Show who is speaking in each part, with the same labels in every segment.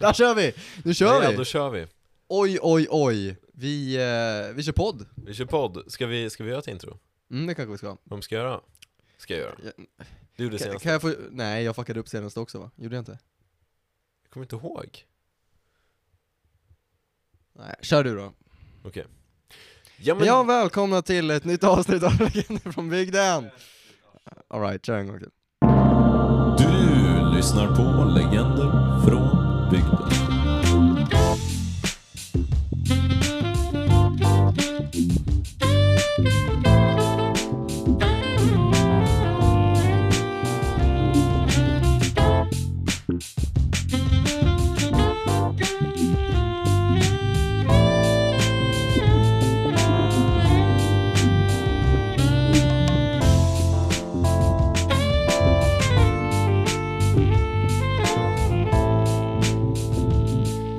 Speaker 1: Där kör vi! Nu
Speaker 2: Ja,
Speaker 1: kör
Speaker 2: då
Speaker 1: vi!
Speaker 2: kör vi.
Speaker 1: Oj, oj, oj. Vi, eh, vi kör podd.
Speaker 2: Vi kör podd. Ska vi, ska vi göra ett intro?
Speaker 1: Mm, det kanske vi ska.
Speaker 2: Vem ska göra? Ska jag göra? Du gjorde
Speaker 1: Kan,
Speaker 2: senast.
Speaker 1: kan jag få, nej jag fuckade upp senast också va? Gjorde jag inte?
Speaker 2: Jag kommer inte ihåg.
Speaker 1: Nej, kör du då.
Speaker 2: Okej. Ja, men...
Speaker 1: Ja, välkomna till ett nytt avsnitt av Legender från bygden! Alright, kör en gång till.
Speaker 3: Du lyssnar på Legender från bygden.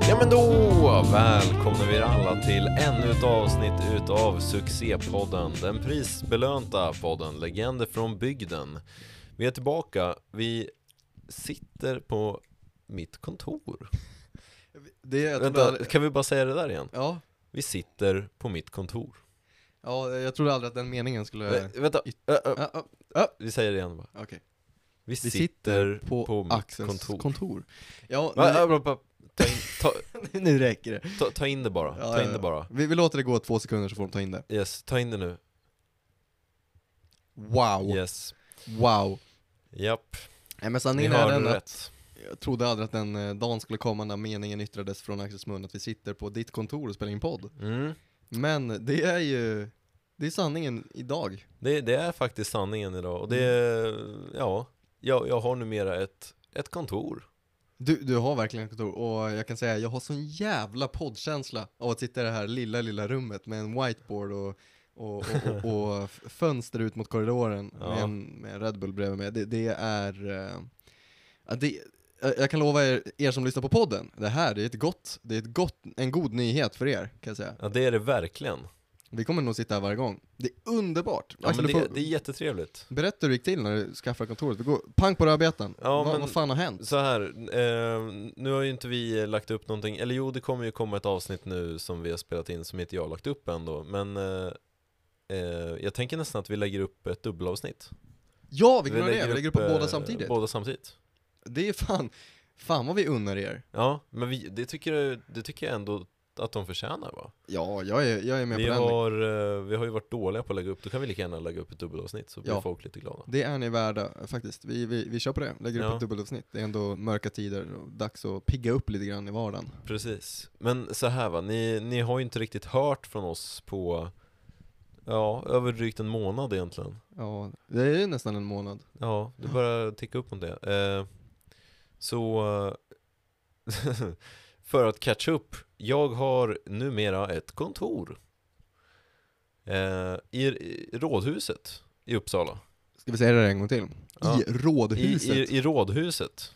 Speaker 2: ja men då välkomnar vi er alla till ännu ett avsnitt utav Succépodden. Den prisbelönta podden Legender från bygden. Vi är tillbaka. Vi sitter på mitt kontor.
Speaker 1: Det är, jag trodde
Speaker 2: Vänta,
Speaker 1: aldrig,
Speaker 2: kan vi bara säga det där igen?
Speaker 1: ja,
Speaker 2: Vi sitter på mitt kontor.
Speaker 1: ja, jag trodde aldrig att den meningen skulle...
Speaker 2: Nej, vänta,
Speaker 1: Yt-
Speaker 2: Ö, ö,
Speaker 1: Ja, ja,
Speaker 2: vi säger det igen bara.
Speaker 1: Okej.
Speaker 2: Vi,
Speaker 1: Vi
Speaker 2: sitter
Speaker 1: På,
Speaker 2: på, mitt
Speaker 1: Axels kontor.
Speaker 2: kontor.
Speaker 1: Ja,
Speaker 2: Va,
Speaker 1: nu,
Speaker 2: ö, ö, ö, ta, in, ta,
Speaker 1: nu räcker det.
Speaker 2: ta, ta in det bara,
Speaker 1: Ja,
Speaker 2: ta
Speaker 1: ja,
Speaker 2: in det
Speaker 1: ja.
Speaker 2: bara.
Speaker 1: Vi, vi låter det gå två sekunder så får de ta in det.
Speaker 2: Yes, ta in det nu.
Speaker 1: Wow,
Speaker 2: Yes.
Speaker 1: wow.
Speaker 2: Japp,
Speaker 1: Nej men
Speaker 2: ni
Speaker 1: sanningen är den
Speaker 2: hörde
Speaker 1: att
Speaker 2: rätt.
Speaker 1: jag trodde aldrig att den eh, dagen skulle komma när meningen yttrades från Axels mun att vi sitter på ditt kontor och spelar in podd.
Speaker 2: Mm.
Speaker 1: Men det är ju, det är sanningen idag.
Speaker 2: Det, det är faktiskt sanningen idag och det,
Speaker 1: Mm.
Speaker 2: ja, jag, jag har numera ett, ett kontor.
Speaker 1: Du, du har verkligen ett kontor och jag kan säga jag har sån jävla poddkänsla av att sitta i det här lilla, lilla rummet med en whiteboard och, och, och, och, och f- fönster ut mot korridoren med,
Speaker 2: Ja.
Speaker 1: en, med en Red Bull bredvid mig. Det, det är... eh, ja, det, jag- jag kan lova er, er som lyssnar på podden, det här det är, ett gott, det är ett gott, en god nyhet för er kan jag säga.
Speaker 2: Ja, det är det verkligen.
Speaker 1: Vi kommer nog sitta här varje gång. Det är underbart!
Speaker 2: Ja, men
Speaker 1: Axel, du
Speaker 2: det,
Speaker 1: får-
Speaker 2: det är jättetrevligt.
Speaker 1: Berätta hur det gick till när du skaffade kontoret. Vi går pang på rödbetan.
Speaker 2: Ja,
Speaker 1: Vad-
Speaker 2: men-
Speaker 1: Vad fan har hänt?
Speaker 2: Så här, eh, nu har ju inte vi lagt upp någonting, eller jo det kommer ju komma ett avsnitt nu som vi har spelat in som inte jag har lagt upp än då, men eh, eh, jag tänker nästan att vi lägger upp ett dubbelavsnitt.
Speaker 1: Ja, vi kan göra det! Vi lägger upp
Speaker 2: eh,
Speaker 1: båda samtidigt.
Speaker 2: Båda samtidigt.
Speaker 1: Det är fan, fan vad vi unnar er.
Speaker 2: Ja, men vi, det, tycker, det tycker jag ändå att de förtjänar va?
Speaker 1: Ja, jag är, jag är med
Speaker 2: Vi
Speaker 1: på den.
Speaker 2: har, eh, vi har ju varit dåliga på att lägga upp, då kan vi lika gärna lägga upp ett dubbelavsnitt så blir
Speaker 1: Ja.
Speaker 2: folk lite glada.
Speaker 1: Det är ni värda faktiskt. Vi, vi, vi kör på det, lägger upp
Speaker 2: Ja.
Speaker 1: ett dubbelavsnitt. Det är ändå mörka tider och dags att pigga upp lite grann i vardagen.
Speaker 2: Precis. Men så här va, ni, ni har ju inte riktigt hört från oss på, ja, över drygt en månad egentligen.
Speaker 1: Ja, det är ju nästan en månad.
Speaker 2: Ja, det börjar ticka upp mot det. Eh, så, eh, för att catcha upp, jag har numera ett kontor. Eh, i, I Rådhuset i Uppsala.
Speaker 1: Ska vi säga det där en gång till?
Speaker 2: Ja.
Speaker 1: I Rådhuset.
Speaker 2: I, i, I Rådhuset.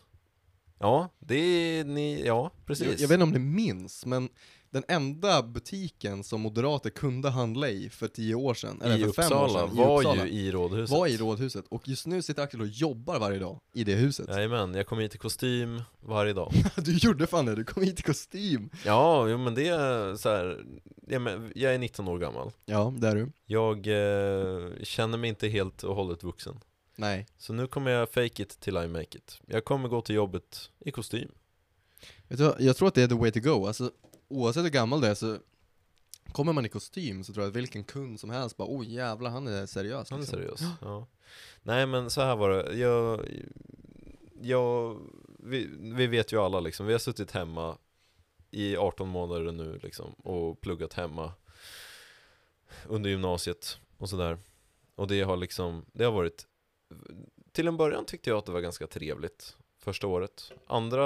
Speaker 2: Ja, det är ni, ja
Speaker 1: jag,
Speaker 2: precis.
Speaker 1: jag vet inte om ni minns, men den enda butiken som moderater kunde handla i för tio år sedan, eller
Speaker 2: I
Speaker 1: för fem år
Speaker 2: Uppsala
Speaker 1: sedan,
Speaker 2: var ju i Rådhuset.
Speaker 1: var i Rådhuset. Och just nu sitter Axel och jobbar varje dag i det huset.
Speaker 2: Jajamän, jag kom hit i kostym varje dag.
Speaker 1: Du gjorde fan det, du kom hit i kostym.
Speaker 2: Ja, jo, men det är så här, jag, men, jag är 19 år gammal.
Speaker 1: Ja, det är du.
Speaker 2: Jag eh, känner mig inte helt och hållet vuxen.
Speaker 1: Nej.
Speaker 2: Så nu kommer jag fake it till I make it. Jag kommer gå till jobbet i kostym.
Speaker 1: Vet du, vad, jag tror att det är the way to go. Alltså, oavsett hur gammal du är så kommer man i kostym så tror jag att vilken kund som helst bara oh jävlar han är seriös.
Speaker 2: Han är
Speaker 1: liksom.
Speaker 2: seriös. Ja. Nej men så här var det. Jag, jag, vi, vi vet ju alla liksom. Vi har suttit hemma i 18 månader nu liksom. Och pluggat hemma under gymnasiet och sådär. Och det har liksom, det har varit Till en början tyckte jag att det var ganska trevligt första året. Andra,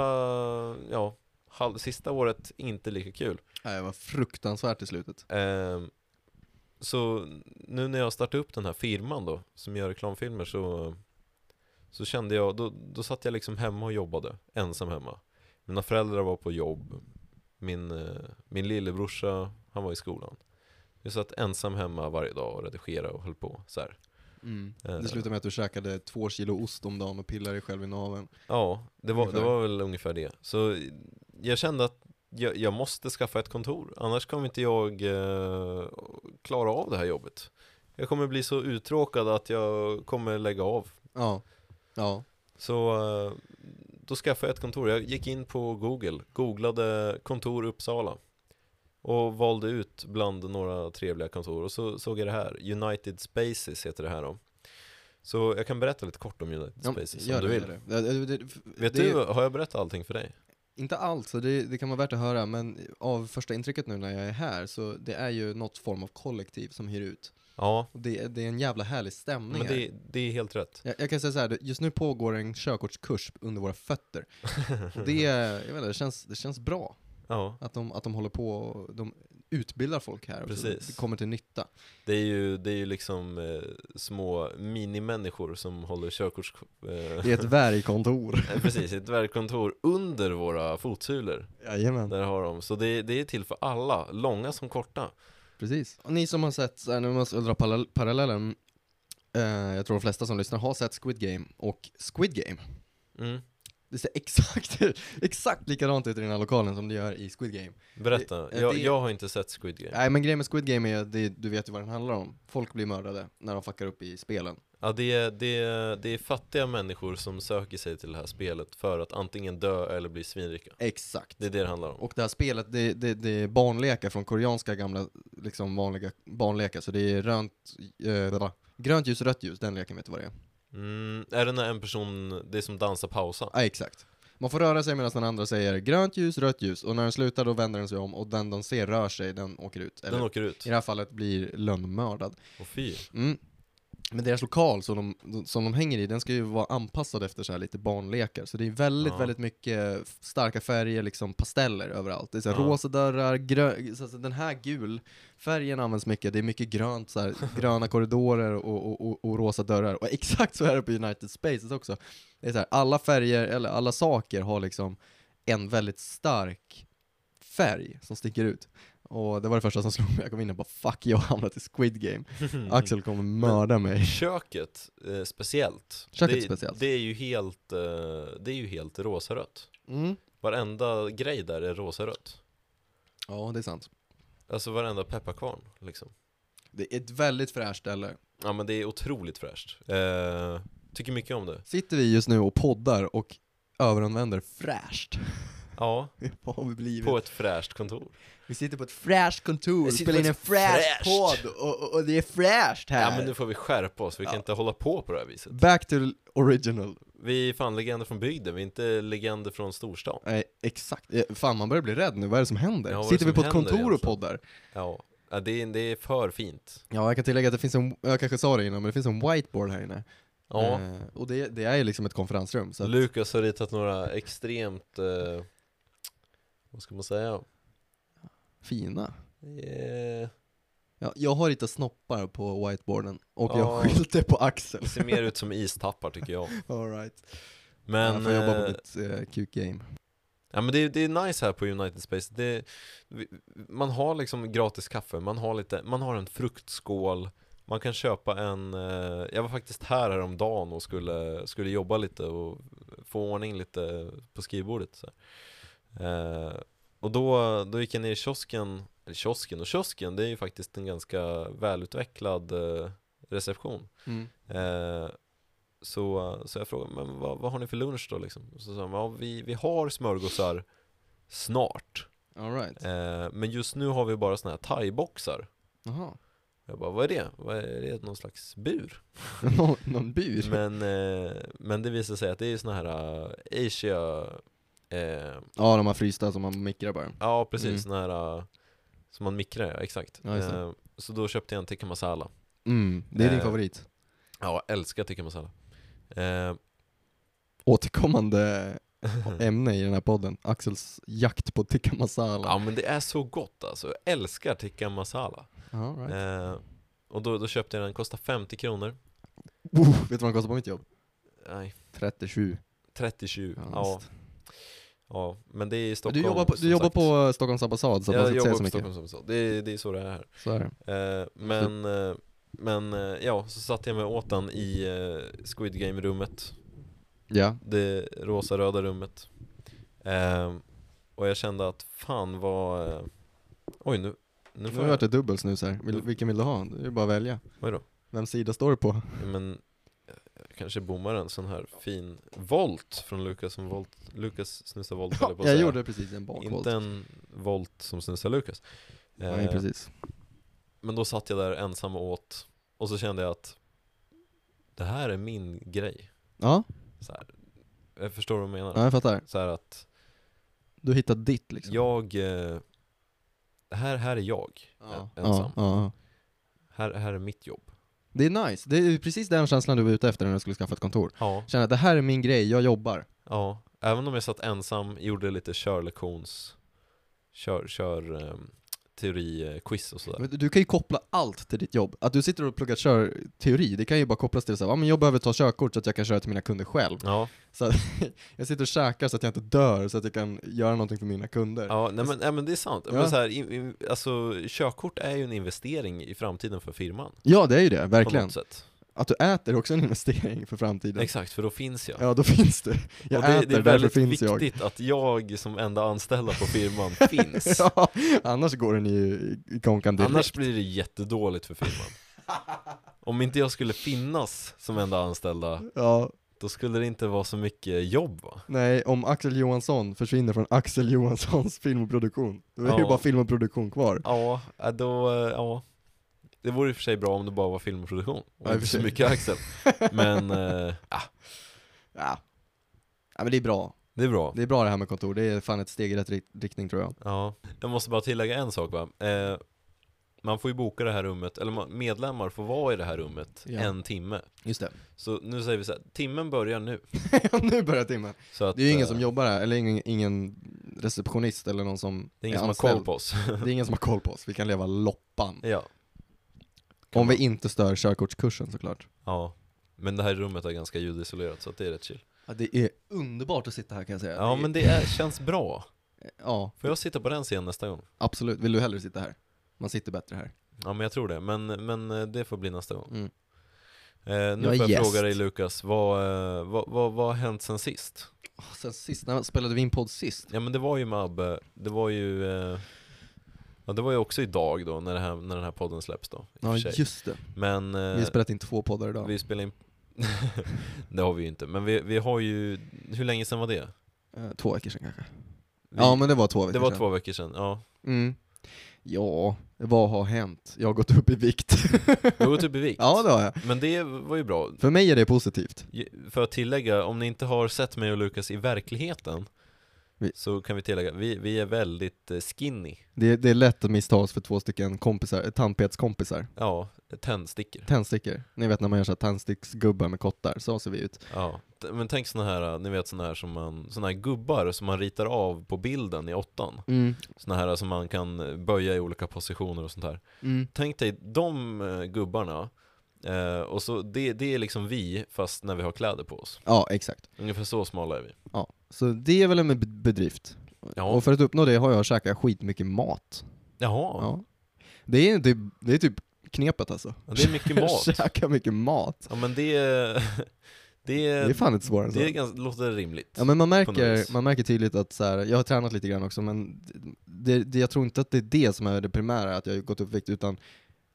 Speaker 2: ja, halv, sista året inte lika kul.
Speaker 1: Nej, det var fruktansvärt i slutet.
Speaker 2: Ehm, så nu när jag startade upp den här firman då, som gör reklamfilmer, så, så kände jag, då, då satt jag liksom hemma och jobbade, ensam hemma. Mina föräldrar var på jobb, min, eh, min lillebrorsa, han var i skolan. Jag satt ensam hemma varje dag och redigerade och höll på så här.
Speaker 1: Mm.
Speaker 2: Eh,
Speaker 1: Det slutade med att du käkade två kilo ost om dagen och pillade dig själv i naveln.
Speaker 2: Ja, det var, det
Speaker 1: Ungefär.
Speaker 2: var väl ungefär det. Så jag kände att jag, jag måste skaffa ett kontor, annars kommer inte jag eh, klara av det här jobbet. Jag kommer bli så uttråkad att jag kommer lägga av.
Speaker 1: Ja. Ja.
Speaker 2: Så eh, då skaffade jag ett kontor. Jag gick in på Google, googlade kontor Uppsala och valde ut bland några trevliga kontor och så såg jag det här. United Spaces heter det här då. Så jag kan berätta lite kort om United
Speaker 1: Ja,
Speaker 2: Spaces
Speaker 1: gör
Speaker 2: om du
Speaker 1: det,
Speaker 2: vill.
Speaker 1: gör det. Ja, det- det-
Speaker 2: Vet
Speaker 1: det-
Speaker 2: du, har jag berättat allting för dig?
Speaker 1: Inte allt, så det, det kan vara värt att höra, men av första intrycket nu när jag är här, så det är ju något form av kollektiv som hyr ut.
Speaker 2: Ja,
Speaker 1: Och det, det är en jävla härlig stämning
Speaker 2: men
Speaker 1: här.
Speaker 2: det, det är helt rätt.
Speaker 1: Jag, jag kan säga så här, det- just nu pågår en körkortskurs under våra fötter. Och det, jag vet inte, det, känns, det känns bra
Speaker 2: Ja,
Speaker 1: att de, att de håller på och de utbildar folk här. och så
Speaker 2: Precis.
Speaker 1: Det kommer till nytta.
Speaker 2: det är ju, det är ju liksom eh, små minimänniskor som håller körkorts... Eh,
Speaker 1: Det är ett dvärgkontor.
Speaker 2: precis, ett verkkontor under våra fotsulor.
Speaker 1: Jajamän.
Speaker 2: Där har de, så det, det är till för alla, långa som korta
Speaker 1: Precis. Och ni som har sett, så här, nu måste jag dra parallell- parallellen, eh, jag tror de flesta som lyssnar har sett Squid Game och Squid Game.
Speaker 2: mm.
Speaker 1: Det ser exakt, exakt likadant ut i den här lokalen som det gör i Squid Game.
Speaker 2: Berätta,
Speaker 1: Det- eh,
Speaker 2: jag,
Speaker 1: det-
Speaker 2: jag har inte sett Squid Game
Speaker 1: Nej men grejen med Squid Game är att det, du vet ju vad den handlar om. Folk blir mördade när de fuckar upp i spelen.
Speaker 2: ja, det, är- det, är- det är fattiga människor som söker sig till det här spelet för att antingen dö eller bli svinrika
Speaker 1: Exakt.
Speaker 2: Det är det det handlar om
Speaker 1: Och det här spelet, det, det, det är barnlekar från koreanska gamla, liksom vanliga barnlekar. Så det är rönt, eh, vad var det? grönt ljus, rött ljus, den leken vet du vad det är?
Speaker 2: mm, Är det när en person, det är som dansa pausa?
Speaker 1: Ja, exakt. Man får röra sig medan den andra säger grönt ljus, rött ljus och när den slutar då vänder den sig om och den de ser rör sig, den åker ut. Eller
Speaker 2: Den åker ut,
Speaker 1: i det här fallet blir lönnmördad.
Speaker 2: och fy
Speaker 1: Mm. Men deras lokal som de, som de hänger i, den ska ju vara anpassad efter så här lite barnlekar. Så det är väldigt,
Speaker 2: Ja.
Speaker 1: väldigt mycket f- starka färger, liksom pasteller överallt. Det är så här
Speaker 2: Ja.
Speaker 1: rosa dörrar, grö- så så den här gul färgen används mycket. Det är mycket grönt, så här, gröna korridorer och, och, och, och rosa dörrar. Och exakt så är det på United Spaces också. Det är så här, alla färger, eller alla saker har liksom en väldigt stark färg som sticker ut. Och det var det första som slog mig, jag kom in och bara 'fuck, jag har hamnat i Squid Game' Axel kommer mörda mig.
Speaker 2: Köket, eh, speciellt
Speaker 1: Köket
Speaker 2: det,
Speaker 1: speciellt.
Speaker 2: Det är ju helt, eh, det är ju helt rosarött
Speaker 1: Mm.
Speaker 2: Varenda grej där är rosarött
Speaker 1: Ja, det är sant.
Speaker 2: Alltså varenda pepparkvarn liksom
Speaker 1: Det är ett väldigt fräscht ställe.
Speaker 2: Ja men det är otroligt fräscht eh, Tycker mycket om det
Speaker 1: Sitter vi just nu och poddar och överanvänder fräscht.
Speaker 2: Ja,
Speaker 1: Vad har vi blivit?
Speaker 2: på ett fräscht kontor
Speaker 1: Vi sitter på ett fräscht kontor,
Speaker 2: Jag sitter
Speaker 1: spelar
Speaker 2: på
Speaker 1: in en
Speaker 2: ett
Speaker 1: fräsch
Speaker 2: fräscht.
Speaker 1: podd och, och, och det är fräscht här.
Speaker 2: Ja men nu får vi skärpa oss, vi kan
Speaker 1: Ja.
Speaker 2: inte hålla på på det här viset
Speaker 1: Back to original.
Speaker 2: Vi är fan legender från bygden, vi är inte legender från storstan
Speaker 1: Nej, exakt. Eh, Fan, man börjar bli rädd nu. Vad är det som händer?
Speaker 2: Ja, vad är det
Speaker 1: sitter vi
Speaker 2: som
Speaker 1: på ett
Speaker 2: händer
Speaker 1: kontor och
Speaker 2: egentligen?
Speaker 1: poddar?
Speaker 2: Ja, ja det, är, det är för fint
Speaker 1: Ja, jag kan tillägga att det finns en, jag kanske sa det innan, men det finns en whiteboard här inne.
Speaker 2: Ja,
Speaker 1: Eh, och det, det är ju liksom ett konferensrum. Så att,
Speaker 2: Lukas har ritat några extremt, eh, vad ska man säga?
Speaker 1: fina.
Speaker 2: Eh,
Speaker 1: Ja, jag har ritat snoppar på whiteboarden och
Speaker 2: Ja.
Speaker 1: jag skyllde på Axel.
Speaker 2: Det ser mer ut som istappar tycker jag
Speaker 1: All right. jag
Speaker 2: Men
Speaker 1: får jobba på
Speaker 2: eh,
Speaker 1: mitt eh, Q-game.
Speaker 2: Ja men det, det är nice här på United Space, det, vi- man har liksom gratis kaffe, man har, lite, man har en fruktskål, man kan köpa en, eh, jag var faktiskt här häromdagen och skulle, skulle jobba lite och få ordning lite på skrivbordet så här. Eh, Och då, då gick jag ner i kiosken, eller kiosken och kiosken, det är ju faktiskt en ganska välutvecklad eh, reception
Speaker 1: Mm.
Speaker 2: Eh, så, så jag frågade, men vad, vad har ni för lunch då liksom? Och Så sa de, ja vi, vi har smörgåsar snart,
Speaker 1: All right.
Speaker 2: eh, men just nu har vi bara såna här thaiboxar.
Speaker 1: Jaha.
Speaker 2: Jag bara, vad är det? Vad är det? Någon slags bur?
Speaker 1: Nå- någon bur?
Speaker 2: Men, eh, men det visar sig att det är ju såna här eh, Asia, eh,
Speaker 1: Ja, de har frysta som man mikrar bara.
Speaker 2: ja precis,
Speaker 1: Mm.
Speaker 2: såna här eh, som man mikrar, ja, exakt.
Speaker 1: Ja, just det.
Speaker 2: eh, så då köpte jag en tikka masala.
Speaker 1: Mm, det är din
Speaker 2: Eh.
Speaker 1: favorit.
Speaker 2: Ja, jag älskar tikka masala. Eh,
Speaker 1: Återkommande ämne i den här podden. Axels jakt på tikka masala.
Speaker 2: ja men det är så gott alltså, jag älskar tikka masala.
Speaker 1: All right.
Speaker 2: Eh, och då, då köpte jag den, kostade 50 kronor Eh.
Speaker 1: Oh, vet du vad den kostar på mitt jobb?
Speaker 2: Nej,
Speaker 1: 37.
Speaker 2: 37
Speaker 1: Ja,
Speaker 2: ja, ja,
Speaker 1: visst.
Speaker 2: men det är i
Speaker 1: Men
Speaker 2: Stockholm
Speaker 1: du jobbar på,
Speaker 2: som
Speaker 1: du jobbar
Speaker 2: sagt.
Speaker 1: på eh, Stockholms ambassad så att man
Speaker 2: Jag
Speaker 1: ska inte säga
Speaker 2: jobbar
Speaker 1: så
Speaker 2: på
Speaker 1: mycket.
Speaker 2: Stockholm som så, det är, det är så det är här
Speaker 1: Så är det.
Speaker 2: Eh, Men, eh,
Speaker 1: Typ.
Speaker 2: men eh, ja, så satte jag mig åt den i eh, Squid Game-rummet
Speaker 1: Ja.
Speaker 2: Det rosa-röda rummet Eh, Och jag kände att fan vad... eh, Oj nu, nu
Speaker 1: Nu
Speaker 2: får
Speaker 1: har jag
Speaker 2: jag...
Speaker 1: varit ett dubbelsnus här. Vill, vilken vill du ha? Det är ju bara att välja.
Speaker 2: Oj då.
Speaker 1: Vem sida står du på?
Speaker 2: Men jag kanske bommar en sån här fin volt från Lukas som volt, Lukas snusar volt höll
Speaker 1: Ja,
Speaker 2: på att
Speaker 1: jag
Speaker 2: säga.
Speaker 1: gjorde precis en bakvolt.
Speaker 2: Inte en volt som snusar Lukas.
Speaker 1: Nej,
Speaker 2: Eh,
Speaker 1: precis.
Speaker 2: Men då satt jag där ensam och åt och så kände jag att det här är min grej.
Speaker 1: Ja,
Speaker 2: Så här, jag förstår vad du menar.
Speaker 1: ja, jag fattar.
Speaker 2: Så här att
Speaker 1: Du hittade ditt liksom.
Speaker 2: jag, eh, här, här är jag
Speaker 1: ja.
Speaker 2: eh, ensam.
Speaker 1: Ja, ja, ja.
Speaker 2: Här, här är mitt jobb.
Speaker 1: Det är nice. Det är ju precis den känslan du var ute efter när du skulle skaffa ett kontor.
Speaker 2: Ja,
Speaker 1: Känna att det här är min grej, jag jobbar.
Speaker 2: ja. Även om jag satt ensam, gjorde lite körlektions, kör, kör eh, teoriquiz och sådär.
Speaker 1: Men Du kan ju koppla allt till ditt jobb. Att du sitter och pluggar körteori, det kan ju bara kopplas till så här, ja, men jag behöver ta körkort så att jag kan köra till mina kunder själv.
Speaker 2: Ja,
Speaker 1: Så att jag sitter och käkar så att jag inte dör, så att jag kan göra någonting för mina kunder.
Speaker 2: ja nej, men, nej, men det är sant.
Speaker 1: Ja.
Speaker 2: Men så här, i, i, alltså, körkort är ju en investering i framtiden för firman.
Speaker 1: Ja, det är ju det,
Speaker 2: På
Speaker 1: verkligen.
Speaker 2: något sätt.
Speaker 1: Att du äter är också en investering för framtiden.
Speaker 2: Exakt, för då finns jag.
Speaker 1: Ja, då finns du. Jag
Speaker 2: och det,
Speaker 1: äter,
Speaker 2: det är
Speaker 1: därför
Speaker 2: väldigt
Speaker 1: finns jag.
Speaker 2: viktigt att jag som enda anställda på firman finns.
Speaker 1: ja, annars går den ju i konkan direkt.
Speaker 2: Annars blir det jättedåligt för firman. Om inte jag skulle finnas som enda anställda,
Speaker 1: Ja,
Speaker 2: då skulle det inte vara så mycket jobb va?
Speaker 1: nej, om Axel Johansson försvinner från Axel Johanssons filmproduktion, då är det ju
Speaker 2: Ja.
Speaker 1: bara film och produktion kvar.
Speaker 2: Ja, eh, då, eh, ja. Det vore i och för sig bra om det bara var filmproduktion
Speaker 1: Ja, i
Speaker 2: och
Speaker 1: och
Speaker 2: inte
Speaker 1: för
Speaker 2: så
Speaker 1: sig.
Speaker 2: mycket Axel. Men, eh, ah,
Speaker 1: Ja. ja, men det är bra.
Speaker 2: det är bra.
Speaker 1: Det är bra det här med kontor, det är fan ett steg i rätt ri- riktning tror jag.
Speaker 2: Ja. Jag måste bara tillägga en sak va. Eh, man får ju boka det här rummet, eller man- medlemmar får vara i det här rummet
Speaker 1: Ja.
Speaker 2: en timme.
Speaker 1: Just det.
Speaker 2: Så nu säger vi så här, timmen börjar nu.
Speaker 1: nu börjar timmen.
Speaker 2: Så att,
Speaker 1: Det är ju ingen
Speaker 2: eh,
Speaker 1: som jobbar här, eller ingen, ingen receptionist eller någon som
Speaker 2: Det är ingen
Speaker 1: är
Speaker 2: som har koll på oss.
Speaker 1: Det är ingen som har koll på oss, vi kan leva loppan.
Speaker 2: ja.
Speaker 1: Om vi inte stör körkortskursen såklart.
Speaker 2: Ja, men det här rummet är ganska ljudisolerat så att det är rätt chill.
Speaker 1: Ja, det är underbart att sitta här kan jag säga.
Speaker 2: Ja, men det är, känns bra.
Speaker 1: Ja,
Speaker 2: Får jag sitta på den scenen nästa gång?
Speaker 1: absolut. Vill du hellre sitta här? Man sitter bättre här.
Speaker 2: Ja, men jag tror det. Men, men eh, det får bli nästa gång.
Speaker 1: Mm.
Speaker 2: Eh,
Speaker 1: Jag
Speaker 2: nu
Speaker 1: är
Speaker 2: får jag
Speaker 1: gäst.
Speaker 2: fråga dig Lukas, vad, eh, vad, vad, vad har hänt sen sist?
Speaker 1: Åh, sen sist, när spelade vi in podd sist?
Speaker 2: Ja men det var ju med Abbe, det var ju eh, Ja det var ju också idag då när, det här, när den här podden släpps då i och
Speaker 1: Ja,
Speaker 2: för sig.
Speaker 1: just det.
Speaker 2: Men eh,
Speaker 1: Vi har spelat in två poddar idag.
Speaker 2: vi spelar in Det har vi ju inte, men vi, vi har ju Hur länge sedan var det?
Speaker 1: Eh, två veckor sedan kanske.
Speaker 2: Vi,
Speaker 1: ja, men det var två veckor
Speaker 2: det var
Speaker 1: sedan.
Speaker 2: två veckor sedan, ja
Speaker 1: Mm. Ja, vad har hänt? Jag har gått upp i vikt.
Speaker 2: Du har gått upp typ i vikt
Speaker 1: ja, det har jag.
Speaker 2: Men det var ju bra.
Speaker 1: För mig är det positivt.
Speaker 2: För att tillägga, om ni inte har sett mig och Lukas i verkligheten
Speaker 1: Vi-
Speaker 2: så kan vi tillägga, vi, vi är väldigt eh, skinny.
Speaker 1: Det, det är lätt att missta oss för två stycken kompisar, eh, tandpetskompisar.
Speaker 2: Ja, tändstickor.
Speaker 1: Tändstickor. Ni vet när man gör så här tändsticksgubbar med kottar, så ser vi ut.
Speaker 2: Ja. T- Men tänk såna här, eh, ni vet såna här, som man, såna här gubbar som man ritar av på bilden i åttan.
Speaker 1: Mm.
Speaker 2: Såna här som man kan eh, böja i olika positioner och sånt här. Tänk dig de eh, gubbarna, eh, och så det, det är liksom vi fast när vi har kläder på oss.
Speaker 1: Ja, exakt.
Speaker 2: Ungefär så smala är vi.
Speaker 1: Ja. Så det är väl en be- bedrift.
Speaker 2: Ja.
Speaker 1: Och för att uppnå det har jag käkat skitmycket mat.
Speaker 2: Jaha,
Speaker 1: Ja. Det, är, det, det är typ knepet alltså.
Speaker 2: Ja, det är mycket mat.
Speaker 1: Käka mycket mat.
Speaker 2: Ja men det, det,
Speaker 1: Det är fan inte svårare än så.
Speaker 2: det är ganska, låter rimligt.
Speaker 1: Ja men man
Speaker 2: något
Speaker 1: märker,
Speaker 2: vis.
Speaker 1: man märker tydligt att så här, jag har tränat lite grann också men det, det, jag tror inte att det är det som är det primära, att jag har gått upp i vikt utan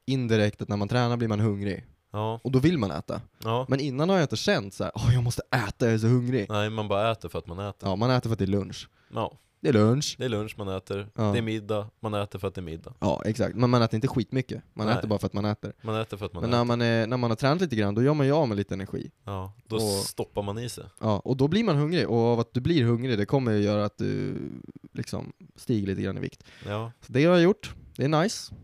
Speaker 1: indirekt att när man tränar blir man hungrig
Speaker 2: ja,
Speaker 1: och då vill man äta.
Speaker 2: ja.
Speaker 1: Men innan har jag inte känt så här, åh jag måste äta, jag är så hungrig.
Speaker 2: Nej man bara äter för att man äter.
Speaker 1: Ja man äter för att det är lunch.
Speaker 2: Ja,
Speaker 1: Det är lunch.
Speaker 2: det är lunch man äter,
Speaker 1: Ja.
Speaker 2: det är middag, man äter för att det är middag.
Speaker 1: Ja exakt, men man äter inte skitmycket. Man
Speaker 2: Nej.
Speaker 1: äter bara för att man äter.
Speaker 2: Man äter för att man
Speaker 1: men
Speaker 2: äter.
Speaker 1: när man, är, när man har tränat lite grann då gör man ju av med lite energi.
Speaker 2: Ja, då
Speaker 1: och-
Speaker 2: stoppar man i sig.
Speaker 1: Ja, och då blir man hungrig och av att du blir hungrig det kommer ju göra att du liksom stiger lite grann i vikt.
Speaker 2: Ja,
Speaker 1: Så det har jag gjort, det är nice.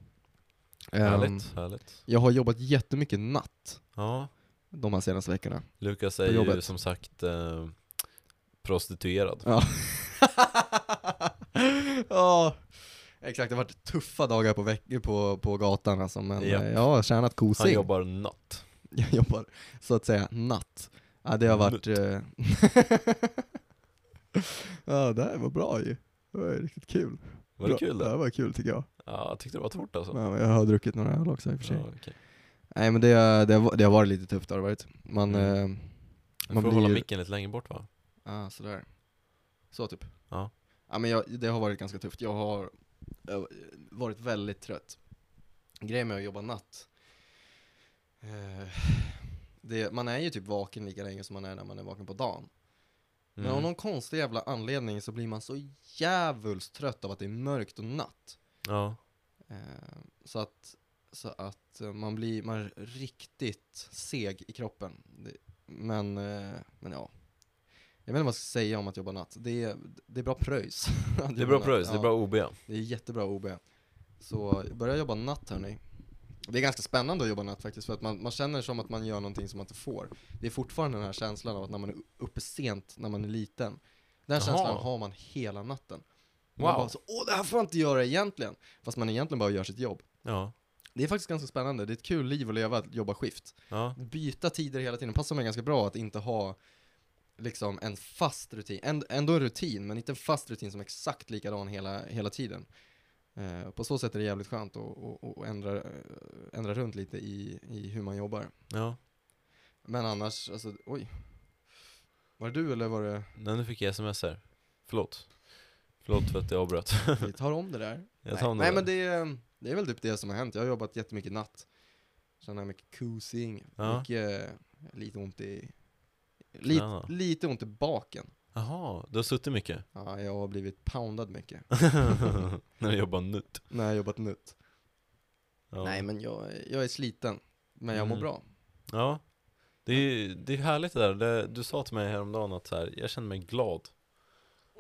Speaker 1: Ehm,
Speaker 2: härligt, härligt.
Speaker 1: Jag har jobbat jättemycket natt
Speaker 2: Ja,
Speaker 1: de här senaste veckorna.
Speaker 2: Lukas är ju
Speaker 1: jobbet.
Speaker 2: som sagt eh, prostituerad.
Speaker 1: Ja. ja, exakt. Det har varit tuffa dagar på, veck- på, på gatan alltså, men
Speaker 2: Japp.
Speaker 1: eh, jag har tjänat
Speaker 2: Han
Speaker 1: kosing.
Speaker 2: jobbar natt.
Speaker 1: Jag jobbar så att säga natt. Ja, det har varit... eh, ja, det här var bra ju. Det var ju riktigt kul.
Speaker 2: Var det
Speaker 1: Bra.
Speaker 2: kul
Speaker 1: Ja,
Speaker 2: det?
Speaker 1: det var kul tycker jag.
Speaker 2: Ja, jag tyckte det var torrt alltså.
Speaker 1: Ja, men jag har druckit några öl också i och för sig.
Speaker 2: Ja, okej.
Speaker 1: Nej men det, det, har- det har varit lite tufft har det varit. Man, eh,
Speaker 2: Du
Speaker 1: Man
Speaker 2: får
Speaker 1: blir
Speaker 2: hålla
Speaker 1: ju-
Speaker 2: micken lite längre bort va?
Speaker 1: Ah, sådär. Så typ.
Speaker 2: Ja.
Speaker 1: Ja, men jag, det har varit ganska tufft. Jag har eh, varit väldigt trött. Grejen med att jobba natt, eh, det, man är ju typ vaken lika länge som man är när man är vaken på dagen.
Speaker 2: Mm.
Speaker 1: Men av någon konstig jävla anledning så blir man så jävulst trött av att det är mörkt och natt.
Speaker 2: Ja.
Speaker 1: Eh, så att, så att eh, man blir man är riktigt seg i kroppen. Det, men, eh, men ja. Jag vet inte vad jag ska säga om att jobba natt. Det är, det är bra pröjs. att
Speaker 2: Det är
Speaker 1: jobba
Speaker 2: bra
Speaker 1: natt.
Speaker 2: pröjs, det är
Speaker 1: Ja,
Speaker 2: bra OB.
Speaker 1: Det är jättebra OB. Så börja jobba natt hörni. Det är ganska spännande att jobba natt faktiskt för att man, man känner som att man gör någonting som man inte får. Det är fortfarande den här känslan av att när man är uppe sent när man är liten. Den
Speaker 2: Jaha.
Speaker 1: känslan har man hela natten. Man
Speaker 2: Wow.
Speaker 1: bara så, åh det här får jag inte göra egentligen. Fast man egentligen bara gör sitt jobb.
Speaker 2: Ja.
Speaker 1: Det är faktiskt ganska spännande, det är ett kul liv att leva, att jobba skift.
Speaker 2: Ja.
Speaker 1: Byta tider hela tiden passar mig ganska bra att inte ha liksom en fast rutin, Änd- ändå en rutin, men inte en fast rutin som är exakt likadan hela, hela tiden. Eh, på så sätt är det jävligt skönt att, att, att ändra, eh, ändra runt lite i, i hur man jobbar.
Speaker 2: ja.
Speaker 1: Men annars, alltså, oj. Var det du eller var det,
Speaker 2: Nej, nu fick jag sms här. Förlåt. Förlåt för att jag avbröt.
Speaker 1: vi tar om det där.
Speaker 2: Jag tar om
Speaker 1: nej, nej
Speaker 2: det
Speaker 1: men
Speaker 2: där.
Speaker 1: det, är- det är väl typ det som har hänt, jag har jobbat jättemycket natt. Sen har jag mycket kosing,
Speaker 2: Ja.
Speaker 1: mycket, eh, lite ont i, lite,
Speaker 2: Knäna.
Speaker 1: lite ont i baken.
Speaker 2: Jaha, du har suttit mycket?
Speaker 1: Ja, jag har blivit poundad mycket
Speaker 2: När du jobbar nytt.
Speaker 1: när jag har jobbat nytt.
Speaker 2: Ja.
Speaker 1: Nej men jag, jag är sliten, men jag mår
Speaker 2: Mm.
Speaker 1: bra.
Speaker 2: Ja. Det är ju det är härligt det där. Det, du sa till mig häromdagen att så här, jag känner mig glad.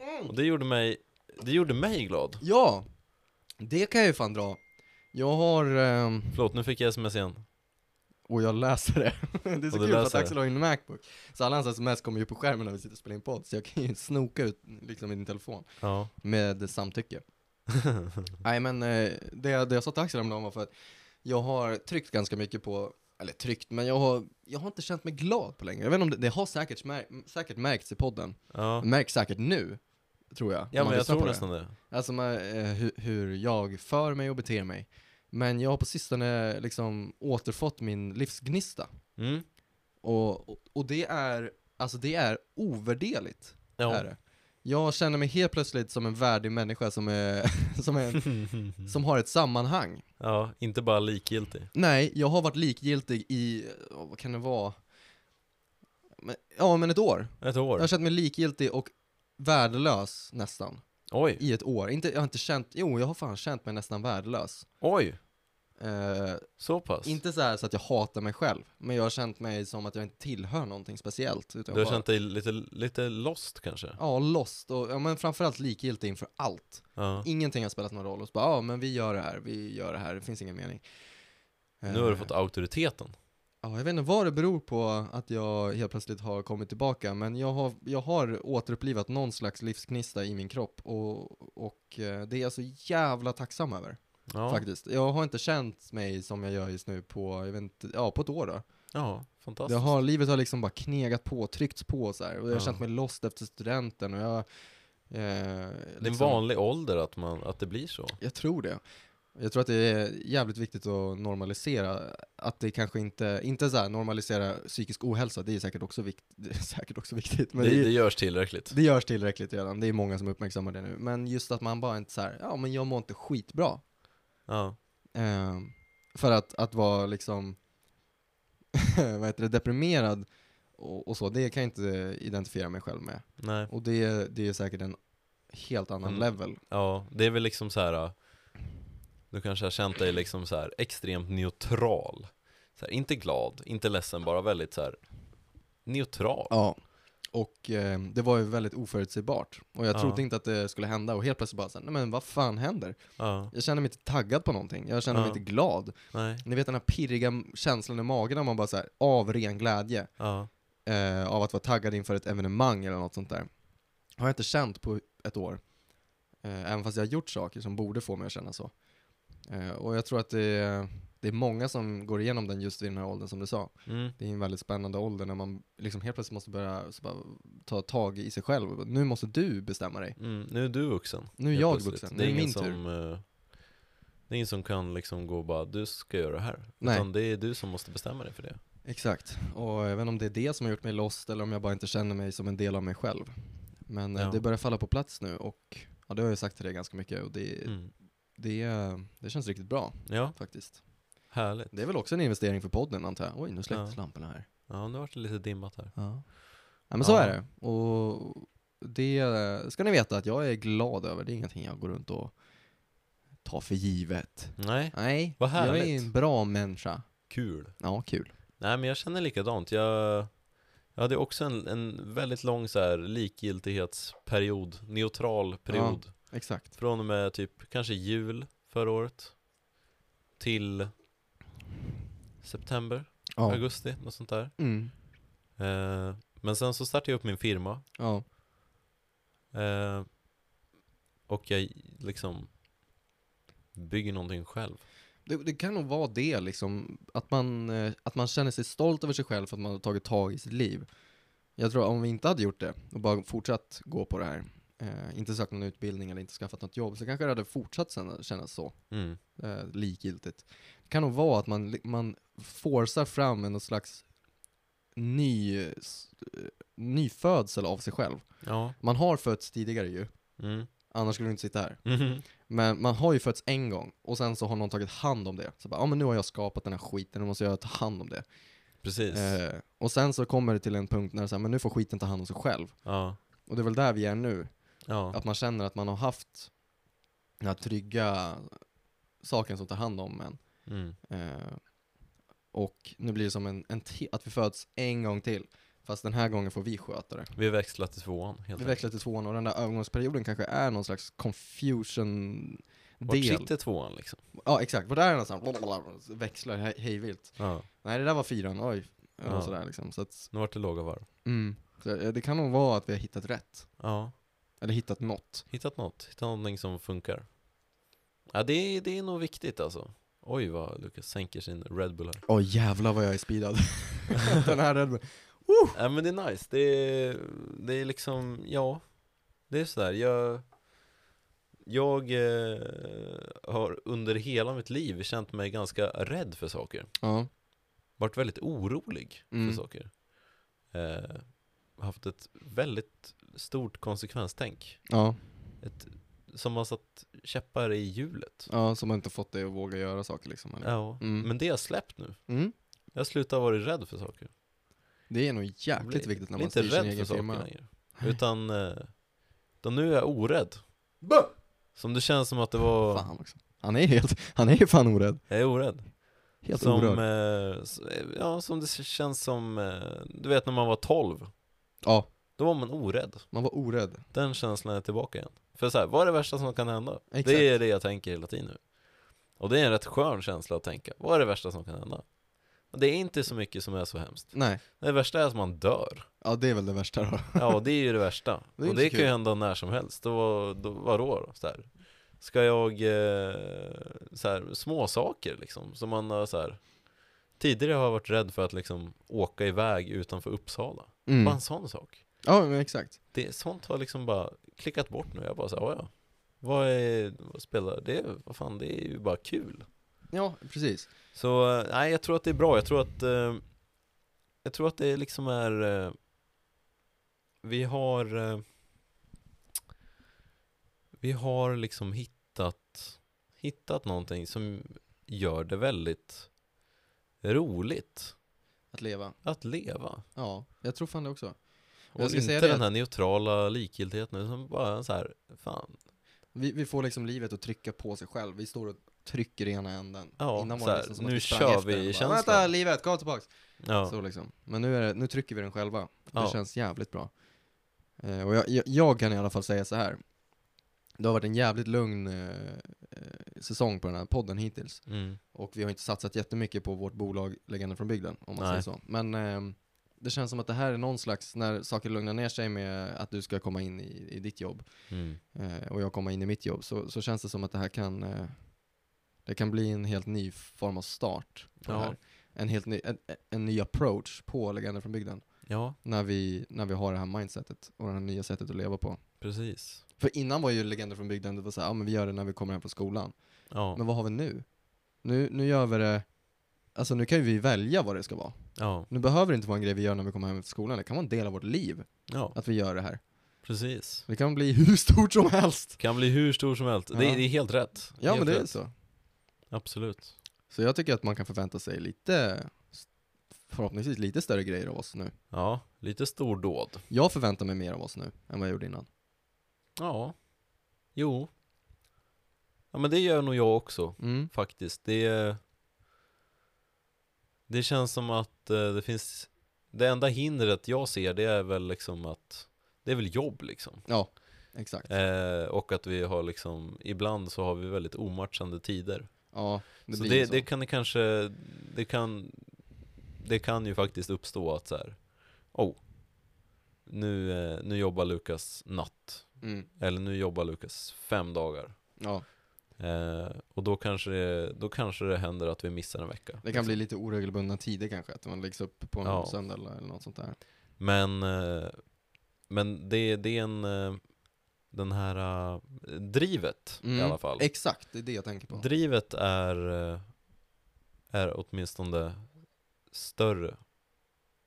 Speaker 1: Mm.
Speaker 2: Och det gjorde mig, det gjorde mig glad.
Speaker 1: Ja, det kan jag ju fan dra. Jag har, ehm,
Speaker 2: Förlåt, nu fick jag sms igen.
Speaker 1: och jag läser det. Det är så
Speaker 2: Och
Speaker 1: kul
Speaker 2: du
Speaker 1: för att
Speaker 2: läser det.
Speaker 1: Axel har ju en Macbook. Så alla hans sms kommer ju på skärmen när vi sitter och spelar in podd, så jag kan ju snoka ut liksom i din telefon.
Speaker 2: Ja.
Speaker 1: Med samtycke. Nej men eh, det, det jag sa till Axel häromdagen var för att jag har tryckt ganska mycket på, eller tryckt, men jag har, jag har inte känt mig glad på länge. Jag vet inte om det, det har säkert, mär, säkert märkts i podden.
Speaker 2: Ja,
Speaker 1: Märks säkert nu, tror jag. om
Speaker 2: ja
Speaker 1: Mm. man
Speaker 2: men jag
Speaker 1: lyssnar på
Speaker 2: tror
Speaker 1: det.
Speaker 2: nästan det.
Speaker 1: Alltså man, eh, hur, hur jag för mig och beter mig. Men jag har på sistone liksom återfått min livsgnista.
Speaker 2: Mm.
Speaker 1: Och, och, och det är, alltså det är ovärderligt är
Speaker 2: Ja.
Speaker 1: det. Jag känner mig helt plötsligt som en värdig människa som, är, som, är, som har ett sammanhang.
Speaker 2: ja, inte bara likgiltig.
Speaker 1: Nej, jag har varit likgiltig i, ja, vad kan det vara? Men, ja, men ett år.
Speaker 2: Ett
Speaker 1: Jag
Speaker 2: år.
Speaker 1: har känt mig likgiltig och värdelös nästan
Speaker 2: Oj,
Speaker 1: i ett år. Inte, jag har inte känt, jo jag har fan känt mig nästan värdelös.
Speaker 2: oj,
Speaker 1: Eh,
Speaker 2: så pass.
Speaker 1: inte så här så att jag hatar mig själv, men jag har känt mig som att jag inte tillhör någonting speciellt. Utan
Speaker 2: Du har
Speaker 1: bara-
Speaker 2: känt dig lite, lite lost kanske?
Speaker 1: Ja, lost och ja, men framförallt likgiltig inför allt.
Speaker 2: Ja.
Speaker 1: Ingenting har spelat någon roll och så bara, ja ah, men vi gör det här, vi gör det här, det finns ingen mening.
Speaker 2: Nu har du
Speaker 1: Eh,
Speaker 2: fått auktoriteten.
Speaker 1: Ja, jag vet inte vad det beror på att jag helt plötsligt har kommit tillbaka, men jag har, jag har återupplivat någon slags livsgnista i min kropp och, och eh, det är jag så jävla tacksam över
Speaker 2: Ja,
Speaker 1: faktiskt. Jag har inte känt mig som jag gör just nu på, jag vet inte, ja på ett år då.
Speaker 2: ja fantastiskt.
Speaker 1: Det har, livet har liksom bara knegat på, tryckts på så här och jag har
Speaker 2: Ja.
Speaker 1: känt mig lost efter studenten och jag... Eh,
Speaker 2: Det är en
Speaker 1: liksom-
Speaker 2: vanlig ålder att, man, att det blir så.
Speaker 1: Jag tror det. Jag tror att det är jävligt viktigt att normalisera, att det kanske inte, inte så här normalisera psykisk ohälsa, det är säkert också, vikt, det är säkert också viktigt, men
Speaker 2: det,
Speaker 1: det,
Speaker 2: det
Speaker 1: det,
Speaker 2: görs tillräckligt.
Speaker 1: görs tillräckligt redan, det är många som uppmärksammar det nu. Men just att man bara inte så här, ja men jag mår inte skitbra.
Speaker 2: Ja.
Speaker 1: Eh, för att, att vara liksom, vad heter det, deprimerad och, och så, det kan jag inte identifiera mig själv med.
Speaker 2: Nej.
Speaker 1: Och det, det är säkert en helt annan
Speaker 2: Mm.
Speaker 1: level.
Speaker 2: Ja, det är väl liksom så här. äh, Du kanske har känt dig liksom så här extremt neutral. Så här, inte glad, inte ledsen, bara väldigt så här neutral.
Speaker 1: Ja. Och eh, det var ju väldigt oförutsägbart. Och jag
Speaker 2: Ja.
Speaker 1: trodde inte att det skulle hända. Och helt plötsligt bara såhär, nej men vad fan händer?
Speaker 2: Ja,
Speaker 1: Jag känner mig inte taggad på någonting. Jag känner
Speaker 2: Ja.
Speaker 1: mig inte glad.
Speaker 2: nej,
Speaker 1: Ni vet den här pirriga känslan i magen när man bara såhär, av ren glädje.
Speaker 2: ja,
Speaker 1: Eh, av att vara taggad inför ett evenemang eller något sånt där. Har jag inte känt på ett år. Eh, även fast jag har gjort saker som borde få mig att känna så. Eh, och jag tror att det är, det är många som går igenom den just vid den här åldern som du sa.
Speaker 2: mm,
Speaker 1: Det är en väldigt spännande ålder när man liksom helt plötsligt måste börja så bara, ta tag i sig själv. Och Nu måste du bestämma dig.
Speaker 2: mm. Nu är du vuxen.
Speaker 1: Nu är
Speaker 2: helt
Speaker 1: jag
Speaker 2: plötsligt.
Speaker 1: vuxen.
Speaker 2: Det är,
Speaker 1: Nu är
Speaker 2: ingen
Speaker 1: min
Speaker 2: som,
Speaker 1: tur.
Speaker 2: eh, Det är ingen som kan liksom gå och bara, du ska göra det här.
Speaker 1: Nej.
Speaker 2: Utan det är du som måste bestämma dig för det.
Speaker 1: Exakt. Och även om det är det som har gjort mig lost eller om jag bara inte känner mig som en del av mig själv. Men eh,
Speaker 2: Ja.
Speaker 1: det börjar falla på plats nu och Ja, det har jag sagt till dig ganska mycket och det,
Speaker 2: Mm.
Speaker 1: det, det känns riktigt bra
Speaker 2: Ja,
Speaker 1: faktiskt.
Speaker 2: härligt.
Speaker 1: Det är väl också en investering för podden antar jag. Oj, nu släcktes
Speaker 2: Ja.
Speaker 1: lamporna här.
Speaker 2: Ja, nu vart det lite dimmat här.
Speaker 1: Ja. ja, men så
Speaker 2: Ja.
Speaker 1: är det. Och det eh, ska ni veta att jag är glad över. Det är ingenting jag går runt och tar för givet.
Speaker 2: Nej,
Speaker 1: Nej,
Speaker 2: Vad
Speaker 1: jag är
Speaker 2: härligt.
Speaker 1: en bra människa.
Speaker 2: kul.
Speaker 1: Ja, kul.
Speaker 2: Nej, men jag känner likadant. Jag, jag hade också en, en väldigt lång så här, likgiltighetsperiod, neutral period.
Speaker 1: Exakt.
Speaker 2: Från och med typ kanske jul förra året till september,
Speaker 1: Ja.
Speaker 2: augusti, något sånt där.
Speaker 1: Mm.
Speaker 2: Eh, men sen så startade jag upp min firma
Speaker 1: Ja.
Speaker 2: Eh, och jag liksom bygger någonting själv.
Speaker 1: Det, det kan nog vara det liksom, att man, eh, att man känner sig stolt över sig själv för att man har tagit tag i sitt liv. Jag tror om vi inte hade gjort det och bara fortsatt gå på det här, eh, inte sökt någon utbildning eller inte skaffat något jobb, så kanske det hade fortsatt sen, kännas så,
Speaker 2: Mm.
Speaker 1: eh, likgiltigt. Det kan nog vara att man, li- man forcar fram en någon slags ny, eh, s- eh, nyfödsel av sig själv.
Speaker 2: Ja.
Speaker 1: Man har fötts tidigare ju,
Speaker 2: Mm.
Speaker 1: annars skulle du inte sitta här.
Speaker 2: Mhm.
Speaker 1: Men man har ju fötts en gång och sen så har någon tagit hand om det. Så bara, ja ah, men nu har jag skapat den här skiten, nu måste jag ta hand om det.
Speaker 2: Precis.
Speaker 1: Eh, och sen så kommer det till en punkt när det säger, men nu får skiten ta hand om sig själv.
Speaker 2: Ja.
Speaker 1: Och det är väl där vi är nu.
Speaker 2: Ja.
Speaker 1: Att man känner att man har haft den här trygga saken som tar hand om en.
Speaker 2: Mm.
Speaker 1: Eh, och nu blir det som en, en te- att vi föds en gång till. Fast den här gången får vi sköta det.
Speaker 2: Vi växlar till tvåan helt
Speaker 1: Vi
Speaker 2: enkelt.
Speaker 1: växlar till tvåan och den där övergångsperioden kanske är någon slags
Speaker 2: Vart
Speaker 1: confusion-del.
Speaker 2: sitter tvåan liksom?
Speaker 1: Ja exakt, vart är den någonstans? Växlar hej- hejvilt.
Speaker 2: Ja.
Speaker 1: Nej det där var fyran, oj. Och
Speaker 2: Ja.
Speaker 1: sådär liksom. Så att,
Speaker 2: Nu vart det låga varv.
Speaker 1: mm. så eh, det kan nog vara att vi har hittat rätt.
Speaker 2: Ja.
Speaker 1: Eller hittat något.
Speaker 2: Hittat något. Hittat någonting som funkar. Ja, det, är- det är nog viktigt alltså. Oj vad Lukas sänker sin Red Bull här.
Speaker 1: Åh jävlar vad jag är speedad. den här Red Bull.
Speaker 2: Ja men det är nice, det är, det är liksom, ja Det är sådär, jag Jag eh, har under hela mitt liv känt mig ganska rädd för saker
Speaker 1: Ja.
Speaker 2: Varit väldigt orolig
Speaker 1: Mm.
Speaker 2: för saker eh, Haft ett väldigt stort konsekvenstänk
Speaker 1: Ja,
Speaker 2: ett, Som har satt käppar i hjulet
Speaker 1: ja, som har inte fått dig att våga göra saker liksom. Eller?
Speaker 2: Ja,
Speaker 1: Mm.
Speaker 2: men det har jag släppt nu
Speaker 1: Mm.
Speaker 2: Jag har slutat vara rädd för saker
Speaker 1: Det är nog jäkligt
Speaker 2: Bli-
Speaker 1: viktigt när
Speaker 2: bli
Speaker 1: man styr sin
Speaker 2: inte rädd
Speaker 1: egen
Speaker 2: för
Speaker 1: firma.
Speaker 2: saker längre. Utan, eh, utan nu är jag orädd. Som det känns som att det var,
Speaker 1: Fan också. Han är helt, han är ju fan orädd.
Speaker 2: jag är orädd.
Speaker 1: Helt
Speaker 2: som,
Speaker 1: orörd.
Speaker 2: eh, s- ja, som det känns som, eh, du vet när man var 12,
Speaker 1: Ja,
Speaker 2: då var man orädd.
Speaker 1: man var orädd.
Speaker 2: Den känslan är tillbaka igen. För så här, vad är det värsta som kan hända?
Speaker 1: Exakt.
Speaker 2: Det är det jag tänker hela tiden nu. Och det är en rätt skön känsla att tänka, vad är det värsta som kan hända? Och det är inte så mycket som är så hemskt.
Speaker 1: Nej,
Speaker 2: Det värsta är att man dör.
Speaker 1: ja det är väl det värsta då.
Speaker 2: Ja, och det är ju det värsta.
Speaker 1: Det är
Speaker 2: och
Speaker 1: inte så
Speaker 2: det kan ju
Speaker 1: kul.
Speaker 2: hända när som helst. Då, då, vadå då? Så här. Ska jag, eh, så här, små saker liksom, som man har så här. Tidigare har jag varit rädd för att liksom åka iväg utanför Uppsala.
Speaker 1: Mm.
Speaker 2: Bara en sån sak.
Speaker 1: Ja, men exakt.
Speaker 2: Det, sånt har liksom bara klickat bort nu. Jag bara såhär, ja. Vad är, vad spelar det? Vad fan, det är ju bara kul.
Speaker 1: Ja, precis.
Speaker 2: Så eh, nej, jag tror att det är bra. Jag tror att eh, Jag tror att det liksom är eh, Vi har eh, Vi har liksom hittat Hittat någonting som gör det väldigt roligt
Speaker 1: Att leva.
Speaker 2: att leva.
Speaker 1: Ja, jag tror fan det också.
Speaker 2: Och
Speaker 1: Jag ska säga
Speaker 2: inte
Speaker 1: det
Speaker 2: den
Speaker 1: att-
Speaker 2: här neutrala likgiltigheten, utan bara så här, fan.
Speaker 1: Vi, vi får liksom livet att trycka på sig själv. Vi står och trycker i ena änden.
Speaker 2: Ja,
Speaker 1: Innan var
Speaker 2: så
Speaker 1: det
Speaker 2: här,
Speaker 1: liksom som att
Speaker 2: nu
Speaker 1: vi sprang
Speaker 2: kör
Speaker 1: efter
Speaker 2: vi
Speaker 1: den och bara,
Speaker 2: känslan.
Speaker 1: Vänta, livet, kom tillbaks!
Speaker 2: Ja,
Speaker 1: Så liksom. Men nu, är det, nu trycker vi den själva. Det
Speaker 2: Ja.
Speaker 1: känns jävligt bra. Eh, och jag, jag, jag kan i alla fall säga så här. Det har varit en jävligt lugn eh, eh, säsong på den här podden hittills.
Speaker 2: mm,
Speaker 1: Och vi har inte satsat jättemycket på vårt bolag Legenden från bygden, om man
Speaker 2: Nej.
Speaker 1: säger så. Men ehm, det känns som att det här är någon slags, när saker lugnar ner sig med att du ska komma in i, i ditt jobb
Speaker 2: mm,
Speaker 1: eh, och jag komma in i mitt jobb så, så känns det som att det här kan eh, det kan bli en helt ny form av start på
Speaker 2: Ja.
Speaker 1: det här. En helt ny, en, en ny approach på Legender från bygden
Speaker 2: ja,
Speaker 1: när vi, när vi har det här mindsetet och det här nya sättet att leva på.
Speaker 2: precis.
Speaker 1: För innan var ju Legender från bygden, det var såhär, ja men vi gör det när vi kommer hem från skolan.
Speaker 2: Ja,
Speaker 1: Men vad har vi nu? Nu, nu gör vi det, alltså nu kan ju vi välja vad det ska vara.
Speaker 2: ja,
Speaker 1: Nu behöver det inte vara en grej vi gör när vi kommer hem från skolan, det kan vara en del av vårt liv
Speaker 2: ja,
Speaker 1: att vi gör det här.
Speaker 2: Precis.
Speaker 1: Det kan bli hur stort som helst.
Speaker 2: Kan bli hur stor som helst. Det,
Speaker 1: Ja.
Speaker 2: är- det är helt rätt.
Speaker 1: Ja,
Speaker 2: helt
Speaker 1: men det är
Speaker 2: rätt.
Speaker 1: så.
Speaker 2: Absolut.
Speaker 1: Så jag tycker att man kan förvänta sig lite, förhoppningsvis lite större grejer av oss nu.
Speaker 2: Ja, lite stordåd.
Speaker 1: Jag förväntar mig mer av oss nu än vad jag gjorde innan.
Speaker 2: Ja. Jo. Ja, men det gör nog jag också.
Speaker 1: Mm.
Speaker 2: faktiskt. Det, det känns som att eh, det finns, det enda hindret jag ser det är väl liksom att, det är väl jobb liksom.
Speaker 1: Ja, exakt.
Speaker 2: Eh, och att vi har liksom, ibland så har vi väldigt omatchande tider.
Speaker 1: Ja, det
Speaker 2: Det så,
Speaker 1: blir ju
Speaker 2: det,
Speaker 1: så.
Speaker 2: det kan det kanske, det kan, det kan ju faktiskt uppstå att så här, oh, nu, eh, nu jobbar Lukas natt,
Speaker 1: Mm.
Speaker 2: eller nu jobbar Lukas fem dagar.
Speaker 1: Ja,
Speaker 2: Eh, och då kanske, det, då kanske det händer att vi missar en vecka.
Speaker 1: det kan bli lite oregelbundna tider kanske, att man läggs upp på en
Speaker 2: Ja.
Speaker 1: söndag eller, eller något sånt där.
Speaker 2: Men, eh, men det, det är en, eh, den här eh, drivet i
Speaker 1: Mm,
Speaker 2: alla fall.
Speaker 1: Exakt, det är det jag tänker på.
Speaker 2: Drivet är, eh, är åtminstone större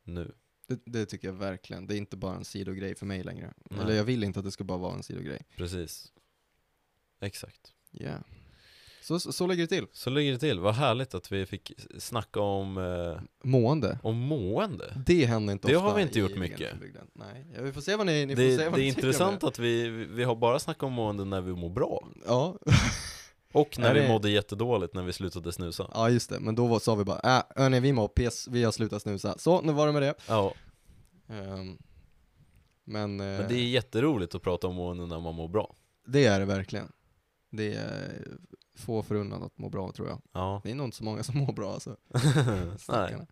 Speaker 2: nu.
Speaker 1: Det, det tycker jag verkligen. Det är inte bara en sidogrej för mig längre.
Speaker 2: Nej.
Speaker 1: Eller jag vill inte att det ska bara vara en sidogrej.
Speaker 2: Precis. Exakt.
Speaker 1: Yeah. Så, så, så lägger det till.
Speaker 2: Så ligger det till. Vad härligt att vi fick snacka om, eh,
Speaker 1: Mående.
Speaker 2: om mående.
Speaker 1: Det händer inte
Speaker 2: Det
Speaker 1: ofta
Speaker 2: har vi inte
Speaker 1: i
Speaker 2: gjort mycket.
Speaker 1: Grängesbygden. Nej, ja, vi får se vad ni, ni
Speaker 2: Det,
Speaker 1: får se vad
Speaker 2: det är
Speaker 1: ni tycker om
Speaker 2: intressant
Speaker 1: det.
Speaker 2: att vi, vi har bara snackat om mående när vi mår bra.
Speaker 1: Ja.
Speaker 2: Och när
Speaker 1: Är
Speaker 2: vi
Speaker 1: det-
Speaker 2: mådde jättedåligt när vi slutade snusa.
Speaker 1: ja, just det. Men då var, sa vi bara, äh, hörni, vi mår piss, vi har slutat snusa. Så, nu var det med det.
Speaker 2: Ja,
Speaker 1: Ehm, men, eh,
Speaker 2: men det är jätteroligt att prata om mående när man mår bra.
Speaker 1: det är det verkligen. Det är få förunnat att må bra tror jag.
Speaker 2: Ja.
Speaker 1: Det är nog inte så många som mår bra alltså. Stackarna.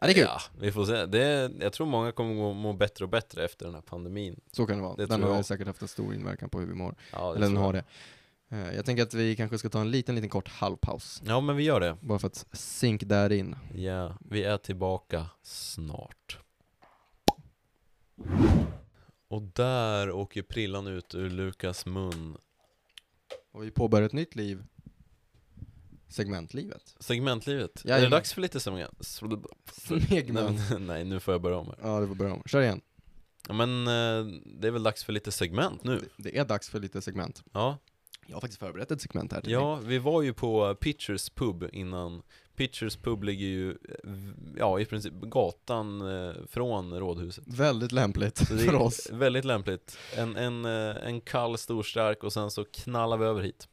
Speaker 1: Ja, det är kul.
Speaker 2: Ja, vi får se. Det är, jag tror många kommer må, må bättre och bättre efter den här pandemin.
Speaker 1: Så kan det vara.
Speaker 2: Det
Speaker 1: den
Speaker 2: tror
Speaker 1: har
Speaker 2: jag.
Speaker 1: säkert haft en stor inverkan på hur vi mår.
Speaker 2: Ja, det
Speaker 1: Eller den
Speaker 2: tror
Speaker 1: har
Speaker 2: jag.
Speaker 1: det. Eh, Jag tänker att vi kanske ska ta en liten, liten kort halvpaus.
Speaker 2: Ja, men vi gör det.
Speaker 1: Bara för att sink där in.
Speaker 2: Ja, vi är tillbaka snart. Och där åker prillan ut ur Lukas mun.
Speaker 1: Och vi påbörjar ett nytt liv. Segmentlivet.
Speaker 2: Segmentlivet. är det
Speaker 1: Jajamän.
Speaker 2: dags för lite segment?
Speaker 1: Segment.
Speaker 2: Nej, men- Nej, nu får jag börja om här.
Speaker 1: Ja, det var bra. Kör igen.
Speaker 2: Ja, Men eh, det är väl dags för lite segment nu?
Speaker 1: Det- Det är dags för lite segment.
Speaker 2: Ja,
Speaker 1: Jag har faktiskt förberett ett segment här till dig.
Speaker 2: Ja, vi var ju på Pitchers pub innan. Pitchers pub ligger ju, eh, ja i princip gatan eh, från rådhuset.
Speaker 1: Väldigt lämpligt
Speaker 2: Så det
Speaker 1: för
Speaker 2: är
Speaker 1: oss.
Speaker 2: Väldigt lämpligt. En, en, eh, en kall storstark och sen så knallar vi över hit.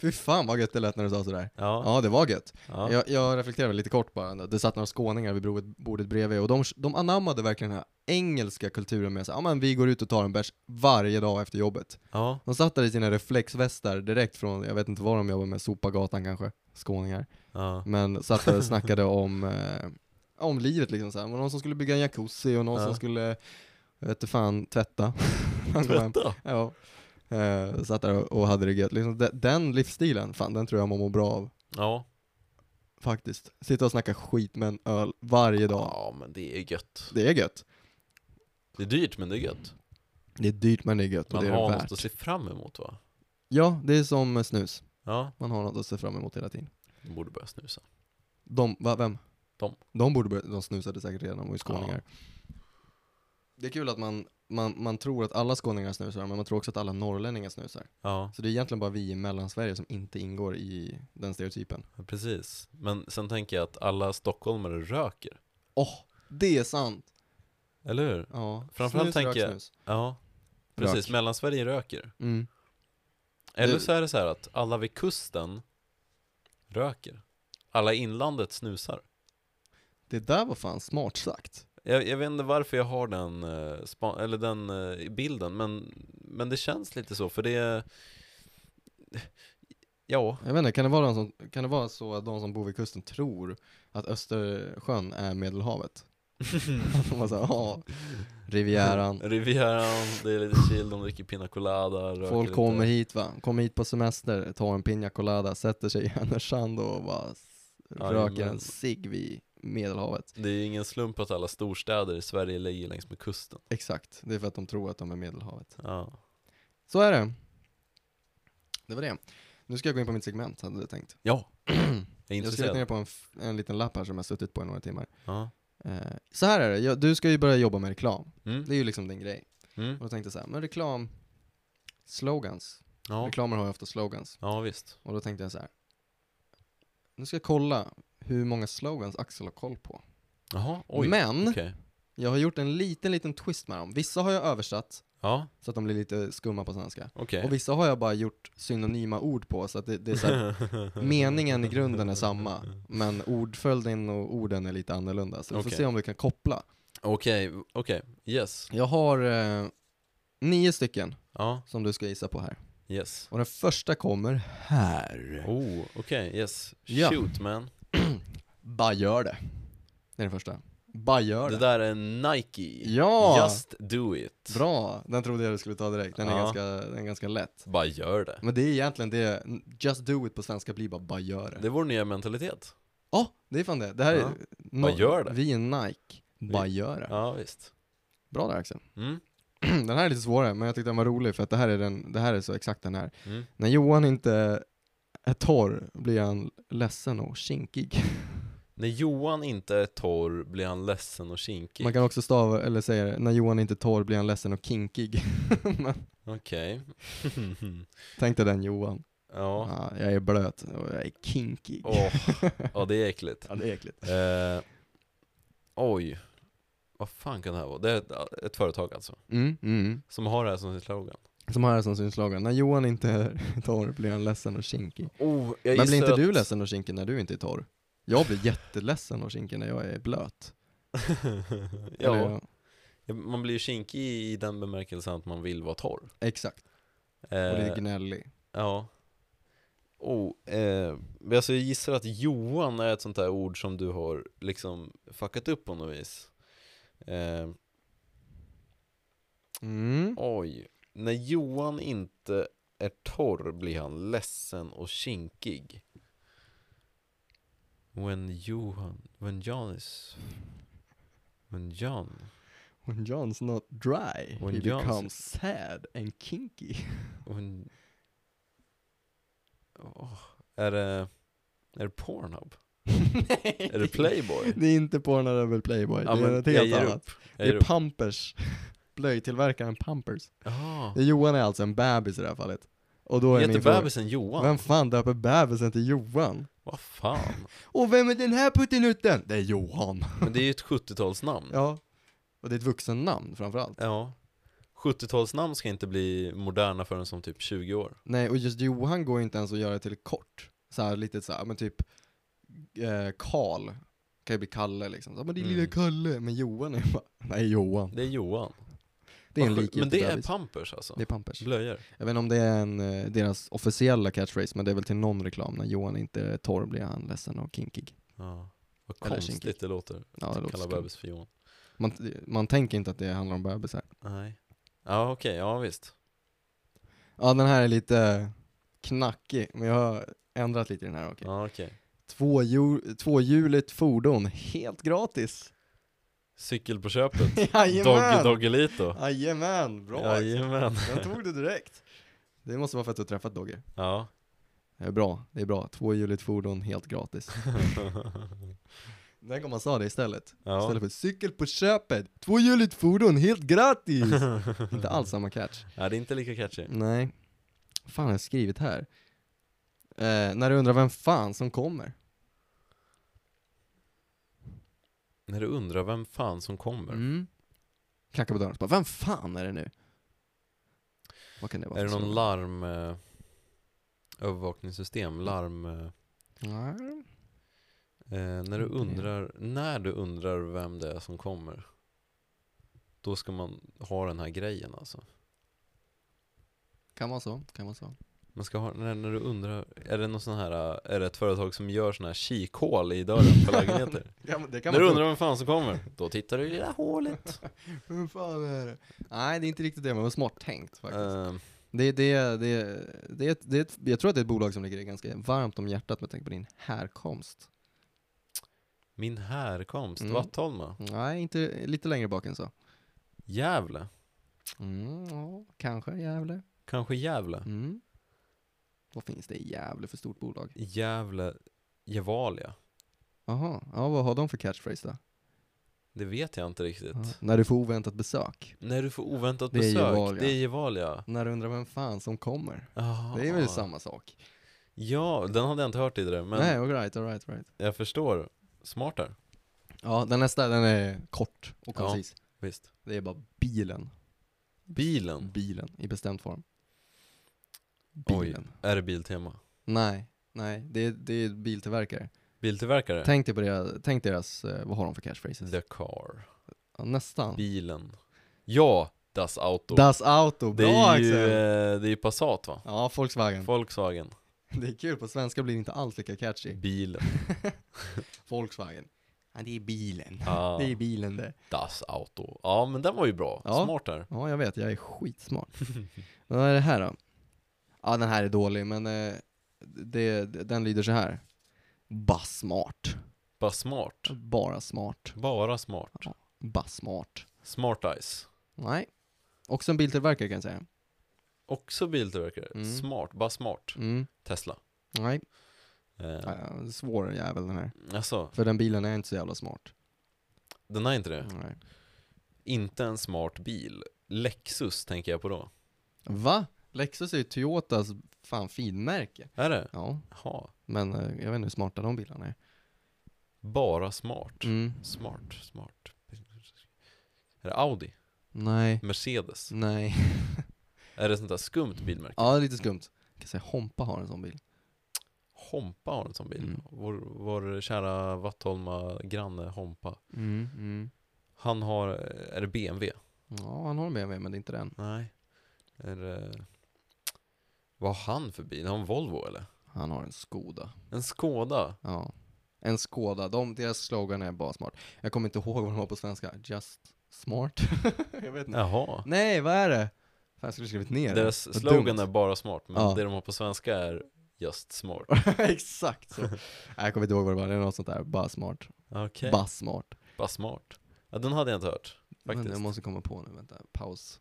Speaker 1: Fy fan vad gött det lät när du sa sådär.
Speaker 2: Ja,
Speaker 1: Ja, det var gött.
Speaker 2: ja.
Speaker 1: Jag, jag reflekterade lite kort bara. Det satt några skåningar vid bordet, bordet bredvid och de, de anammade verkligen den här engelska kulturen med sig. Ja, men vi går ut och tar en bärs varje dag efter jobbet.
Speaker 2: ja.
Speaker 1: De satt där i sina reflexvästar direkt från, jag vet inte vad de jobbar med, Sopagatan kanske, skåningar.
Speaker 2: ja.
Speaker 1: Men satt där och snackade om, eh, om livet liksom så här. Det var någon som skulle bygga en jacuzzi och någon
Speaker 2: Ja.
Speaker 1: som skulle, jag vet inte fan, tvätta. Han kom hem.
Speaker 2: Tvätta!
Speaker 1: Ja. Eh, satt där och, och hade det gött. Liksom, de, den livsstilen, fan den tror jag man mår bra av.
Speaker 2: Ja.
Speaker 1: Faktiskt. Sitta och snacka skit med en öl varje dag.
Speaker 2: ja, men det är gött.
Speaker 1: Det är gött.
Speaker 2: Det är dyrt men det är gött.
Speaker 1: Det är dyrt men det är gött Mm. och
Speaker 2: Man
Speaker 1: det är
Speaker 2: har
Speaker 1: det
Speaker 2: något
Speaker 1: värt.
Speaker 2: att se fram emot va?
Speaker 1: Ja, det är som snus.
Speaker 2: Ja,
Speaker 1: Man har något att se fram emot hela tiden.
Speaker 2: man borde börja snusa.
Speaker 1: De, va, vem?
Speaker 2: De.
Speaker 1: De borde börja, de snusade säkert redan, de var ju skåningar. Det är kul att man, man, man tror att alla skåningar snusar, men man tror också att alla norrlänningar snusar.
Speaker 2: Ja,
Speaker 1: Så det är egentligen bara vi i mellansverige som inte ingår i den stereotypen.
Speaker 2: precis. Men sen tänker jag att alla stockholmare röker.
Speaker 1: Åh, det är sant!
Speaker 2: Eller hur?
Speaker 1: Ja.
Speaker 2: Framförallt
Speaker 1: snus,
Speaker 2: tänker
Speaker 1: rök,
Speaker 2: jag-
Speaker 1: Snus.
Speaker 2: Ja, precis.
Speaker 1: Rök.
Speaker 2: Mellansverige röker.
Speaker 1: Mm.
Speaker 2: Eller
Speaker 1: Det-
Speaker 2: så är det så här att alla vid kusten röker. Alla i inlandet snusar.
Speaker 1: Det där var fan smart sagt.
Speaker 2: Jag, jag vet inte varför jag har den, eh, spa, eller den eh, bilden, men, men det känns lite så, för det är... Ja,
Speaker 1: Jag vet inte, kan det, vara de som, kan det vara så att de som bor vid kusten tror att Östersjön är Medelhavet?
Speaker 2: Mm.
Speaker 1: de bara såhär, ja, Rivieran.
Speaker 2: Rivieran, det är lite chill, de dricker pina colada, röker
Speaker 1: Folk
Speaker 2: lite.
Speaker 1: kommer hit va, kommer hit på semester, tar en piña colada, sätter sig i Härnösand och bara s-
Speaker 2: Jajamän.
Speaker 1: röker en cigg vid Medelhavet.
Speaker 2: Det är ju ingen slump att alla storstäder i Sverige ligger längs med kusten.
Speaker 1: Exakt, det är för att de tror att de är Medelhavet.
Speaker 2: Ja.
Speaker 1: Så är det. Det var det. Nu ska jag gå in på mitt segment, hade jag tänkt.
Speaker 2: Ja, jag är
Speaker 1: Jag har skrivit ner
Speaker 2: intresserad.
Speaker 1: på en, f- en liten lapp här som jag suttit på i några timmar.
Speaker 2: Ja.
Speaker 1: Eh, så här är det, jag, du ska ju börja jobba med reklam.
Speaker 2: Mm.
Speaker 1: Det är ju liksom din grej.
Speaker 2: Mm.
Speaker 1: Och jag tänkte så här, men reklam, slogans.
Speaker 2: Ja.
Speaker 1: Reklamer har ju ofta slogans.
Speaker 2: ja, visst.
Speaker 1: Och då tänkte jag så här, nu ska jag kolla hur många slogans Axel har koll på.
Speaker 2: Jaha, oj.
Speaker 1: Men,
Speaker 2: Okej.
Speaker 1: jag har gjort en liten, liten twist med dem. Vissa har jag översatt,
Speaker 2: Ja,
Speaker 1: så att de blir lite skumma på svenska.
Speaker 2: okej.
Speaker 1: Och vissa har jag bara gjort synonyma ord på, så att det, det är så här, meningen i grunden är samma, men ordföljden och orden är lite annorlunda. Så vi får
Speaker 2: Okej.
Speaker 1: se om du kan koppla.
Speaker 2: Okej, okej. Yes.
Speaker 1: Jag har eh, nio stycken
Speaker 2: Ja,
Speaker 1: som du ska gissa på här.
Speaker 2: yes.
Speaker 1: Och den första kommer här.
Speaker 2: Oh, okej. Yes.
Speaker 1: Ja.
Speaker 2: Shoot man.
Speaker 1: Bara gör det. Det är den första. Bara gör
Speaker 2: Det
Speaker 1: det.
Speaker 2: där är Nike.
Speaker 1: Ja!
Speaker 2: Just do it.
Speaker 1: Bra! Den trodde jag du skulle ta direkt. Den är,
Speaker 2: Ja.
Speaker 1: ganska, den är ganska lätt.
Speaker 2: Bara gör det.
Speaker 1: Men det är egentligen det, just do it på svenska blir bara bara gör det.
Speaker 2: Det är vår nya mentalitet.
Speaker 1: Ja, det är fan det. Det här
Speaker 2: Ja.
Speaker 1: är... no-
Speaker 2: Bara gör det.
Speaker 1: Vi är Nike. Bara
Speaker 2: Vi-
Speaker 1: gör det.
Speaker 2: Ja, visst.
Speaker 1: Bra där Axel.
Speaker 2: Mm.
Speaker 1: den här är lite svårare, men jag tyckte den var rolig för att det här är, den, det här är så exakt den här.
Speaker 2: Mm.
Speaker 1: När Johan inte är torr blir han ledsen och kinkig.
Speaker 2: När Johan inte är torr blir han ledsen och kinkig.
Speaker 1: Man kan också stava, eller säga det, när Johan inte är torr blir han ledsen och kinkig. men
Speaker 2: Okej.
Speaker 1: tänk dig den Johan.
Speaker 2: ja.
Speaker 1: Ah, jag är blöt och jag är kinkig.
Speaker 2: Åh, ja, det är äckligt.
Speaker 1: Ja, det är äckligt.
Speaker 2: Eh, oj. Vad fan kan det här vara? Det är ett, ett företag alltså.
Speaker 1: Mm, mm.
Speaker 2: Som har det här som sin slogan.
Speaker 1: Som har det som sin slogan, när Johan inte är torr blir han ledsen och kinkig.
Speaker 2: Oh, jag
Speaker 1: Men blir
Speaker 2: gissar
Speaker 1: inte du
Speaker 2: att-
Speaker 1: ledsen och kinkig när du inte är torr? Jag blir jätteledsen och kinkig när jag är blöt.
Speaker 2: ja,
Speaker 1: Eller,
Speaker 2: Ja, Man blir ju kinkig i den bemärkelsen att man vill vara torr. Eh,
Speaker 1: Exakt, och det är gnällig.
Speaker 2: ja. Oh, eh, men alltså jag gissar att Johan är ett sånt där ord som du har liksom fuckat upp på något vis. Eh,
Speaker 1: Mm.
Speaker 2: oj. När Johan inte är torr blir han ledsen och kinkig. When Johan, when John is, when John
Speaker 1: When John's not dry,
Speaker 2: When
Speaker 1: he
Speaker 2: John's-
Speaker 1: becomes sad and kinky.
Speaker 2: Och en... Åh, är det... Är det Pornhub? Är det Playboy?
Speaker 1: Det är inte Pornhub eller Playboy,
Speaker 2: Ja,
Speaker 1: det är
Speaker 2: men
Speaker 1: något
Speaker 2: jag
Speaker 1: helt
Speaker 2: ger
Speaker 1: annat.
Speaker 2: upp.
Speaker 1: Det
Speaker 2: Jag ger
Speaker 1: är
Speaker 2: upp.
Speaker 1: Pampers, blöjtillverkaren Pampers.
Speaker 2: Jaha.
Speaker 1: Johan är alltså en bebis i det här fallet. Och då är
Speaker 2: Heter
Speaker 1: min fråga,
Speaker 2: bebisen Johan?
Speaker 1: vem fan döper bebisen till Johan?
Speaker 2: Vad fan?
Speaker 1: Och vem är den här puttinutten? Det är Johan.
Speaker 2: Men det är ju ett 70-talsnamn. Ja.
Speaker 1: Ja, och det är ett vuxennamn framförallt.
Speaker 2: 70-talsnamn ska inte bli moderna förrän som typ 20 år.
Speaker 1: Nej, och just Johan går ju inte ens att göra till kort. Så här lite så här, men typ eh, Karl kan ju bli Kalle liksom. Så, men det är lilla
Speaker 2: Mm.
Speaker 1: Kalle, men Johan är bara, nej Johan.
Speaker 2: Det är Johan.
Speaker 1: Det är en
Speaker 2: Vad sjukt.
Speaker 1: likhet
Speaker 2: Men det är
Speaker 1: Pampers.
Speaker 2: Pampers alltså?
Speaker 1: Det är Pampers.
Speaker 2: Blöjor?
Speaker 1: Jag vet inte om det är en, eh, deras officiella catchphrase, men det är väl till någon reklam. När Johan inte är torr blir han ledsen och kinkig.
Speaker 2: Ja. Vad
Speaker 1: Eller
Speaker 2: konstigt
Speaker 1: kinkig.
Speaker 2: det låter.
Speaker 1: Ja, det
Speaker 2: Att
Speaker 1: låter
Speaker 2: kalla
Speaker 1: skumt.
Speaker 2: bebis för Johan.
Speaker 1: Man, man tänker inte att det handlar om bebisar.
Speaker 2: Nej. Ja okej, ja visst.
Speaker 1: Ja, den här är lite knackig, men jag har ändrat lite i den här. Okay.
Speaker 2: Ja okej.
Speaker 1: Tvåhjul, tvåhjuligt fordon, helt gratis.
Speaker 2: Cykel på köpet. Doggy
Speaker 1: Jajamän!
Speaker 2: Doggelito.
Speaker 1: Jajamän, bra!
Speaker 2: Jajamän.
Speaker 1: Den tog du direkt. Det måste vara för att du har träffat Dogge.
Speaker 2: Ja.
Speaker 1: Det är bra, det är bra. Tvåhjuligt fordon helt gratis. Tänk om man sa det istället.
Speaker 2: ja.
Speaker 1: Istället för cykel på köpet, tvåhjuligt fordon helt gratis! inte alls samma catch.
Speaker 2: Nej, det är inte lika catchy.
Speaker 1: Nej. Vad fan har jag skrivit här? Eh, när du undrar vem fan som kommer.
Speaker 2: När du undrar vem fan som kommer.
Speaker 1: Mm. Knackar på dörren och bara, vem fan är det nu? Vad kan det vara?
Speaker 2: är det
Speaker 1: för
Speaker 2: någon
Speaker 1: fråga?
Speaker 2: larm... Eh, övervakningssystem? Larm... Eh,
Speaker 1: Nej.
Speaker 2: eh, när du
Speaker 1: Inte Mm, det.
Speaker 2: undrar... När du undrar vem det är som kommer. Då ska man ha den här grejen alltså.
Speaker 1: Kan vara så, kan vara så.
Speaker 2: Man ska ha, när, när du undrar, är det någon sån här, eh, är det ett företag som gör såna här kikhål i dörren på lägenheter?
Speaker 1: Ja, men det kan
Speaker 2: när du
Speaker 1: man
Speaker 2: undrar vem fan som kommer, då tittar du i det där hålet.
Speaker 1: Hur fan är det? Nej, det är inte riktigt det, men det var smart tänkt faktiskt.
Speaker 2: Eh,
Speaker 1: Det, det, det, det, är ett- det, är ett- jag tror att det är ett bolag som ligger dig ganska varmt om hjärtat med tanke på din härkomst.
Speaker 2: min härkomst,
Speaker 1: Mm.
Speaker 2: Vattholma,
Speaker 1: Nej, inte lite längre bak än så.
Speaker 2: Gävle.
Speaker 1: Mm, ja, kanske Gävle.
Speaker 2: Kanske Gävle?
Speaker 1: Mm. Vad finns det i Gävle för stort bolag?
Speaker 2: Gävle, Gevalia
Speaker 1: Jaha, ja, vad har de för catchphrase då?
Speaker 2: Det vet jag inte riktigt.
Speaker 1: Ja. När du får oväntat besök.
Speaker 2: När du får oväntat
Speaker 1: Det är ju val,
Speaker 2: besök,
Speaker 1: ja.
Speaker 2: det är ju val ja.
Speaker 1: När du undrar vem fan som kommer.
Speaker 2: Aha.
Speaker 1: Det är väl samma sak?
Speaker 2: Ja, den hade jag inte hört tidigare, men
Speaker 1: Nej, all right, all right, all right.
Speaker 2: jag förstår. Smart där,
Speaker 1: Ja, den nästa, den är kort och
Speaker 2: Ja.
Speaker 1: koncis.
Speaker 2: visst.
Speaker 1: Det är bara bilen.
Speaker 2: Bilen?
Speaker 1: Bilen, i bestämd form.
Speaker 2: Oj,
Speaker 1: Bilen.
Speaker 2: är det biltema?
Speaker 1: Nej, nej, det är, det är biltillverkare.
Speaker 2: Biltillverkare?
Speaker 1: Tänk dig på deras, tänk deras, eh, vad har de för catchphrases?
Speaker 2: The car.
Speaker 1: Ja, nästan.
Speaker 2: Bilen. Ja, das Auto.
Speaker 1: Das Auto,
Speaker 2: det,
Speaker 1: bra
Speaker 2: är ju,
Speaker 1: Axel!
Speaker 2: eh, det är ju Passat va?
Speaker 1: Ja, Volkswagen.
Speaker 2: Volkswagen.
Speaker 1: Det är kul, på svenska blir det inte alls lika catchy.
Speaker 2: Bilen.
Speaker 1: Volkswagen. Ja, det är bilen.
Speaker 2: Ah,
Speaker 1: Det är bilen det.
Speaker 2: das Auto. Ja, men den var ju bra.
Speaker 1: Ja.
Speaker 2: Smart där.
Speaker 1: Ja, jag vet, jag är skitsmart. Vad är det här då? Ja, den här är dålig, men eh, det, den lyder så här. Bara smart.
Speaker 2: Bara smart.
Speaker 1: Bara smart.
Speaker 2: Bara smart.
Speaker 1: Bara smart.
Speaker 2: Smart Eyes.
Speaker 1: Nej. Också en biltillverkare kan jag säga.
Speaker 2: Också biltillverkare.
Speaker 1: Mm.
Speaker 2: Smart, bara smart.
Speaker 1: Mm.
Speaker 2: Tesla.
Speaker 1: Nej,
Speaker 2: Eh,
Speaker 1: ja, svår jävel den här.
Speaker 2: alltså,
Speaker 1: För den bilen är inte så jävla smart.
Speaker 2: den är inte det.
Speaker 1: Nej.
Speaker 2: Inte en smart bil. Lexus tänker jag på då.
Speaker 1: Va? Lexus är ju Toyotas fan finmärke.
Speaker 2: Är det?
Speaker 1: Ja,
Speaker 2: Jaha.
Speaker 1: men eh, jag vet inte hur smarta de bilarna är.
Speaker 2: Bara smart.
Speaker 1: Mm.
Speaker 2: Smart, smart. Är det Audi?
Speaker 1: Nej.
Speaker 2: Mercedes?
Speaker 1: Nej.
Speaker 2: Är det sånt där skumt bilmärke?
Speaker 1: Ja, det är lite skumt. Jag kan säga Hompa har en sån bil.
Speaker 2: Hompa har en sån bil.
Speaker 1: Mm.
Speaker 2: Vår, vår kära Vattholma granne Hompa. Han har, eh, är det BMW?
Speaker 1: Ja, han har en BMW, men det är inte den.
Speaker 2: Nej. Är det, vad har han för bil? Har han Volvo eller?
Speaker 1: Han har en Skoda.
Speaker 2: En Skoda?
Speaker 1: Ja. En Skoda. De, deras slogan är bara smart. Jag kommer inte ihåg vad den var på svenska. Just smart. jag vet inte.
Speaker 2: Jaha.
Speaker 1: Nej, vad är det? Fan, jag skulle skrivit ner det.
Speaker 2: Deras
Speaker 1: Vad
Speaker 2: slogan
Speaker 1: dumt.
Speaker 2: är bara smart, men
Speaker 1: Ja.
Speaker 2: det de har på svenska är just smart.
Speaker 1: Exakt så. Nej, jag kommer inte ihåg vad det var. Det är något sånt där. Bara smart.
Speaker 2: Okej,
Speaker 1: Bara smart.
Speaker 2: bara smart. Ja, den hade jag inte hört.
Speaker 1: Vänta,
Speaker 2: Faktiskt.
Speaker 1: jag måste komma på nu, vänta, paus.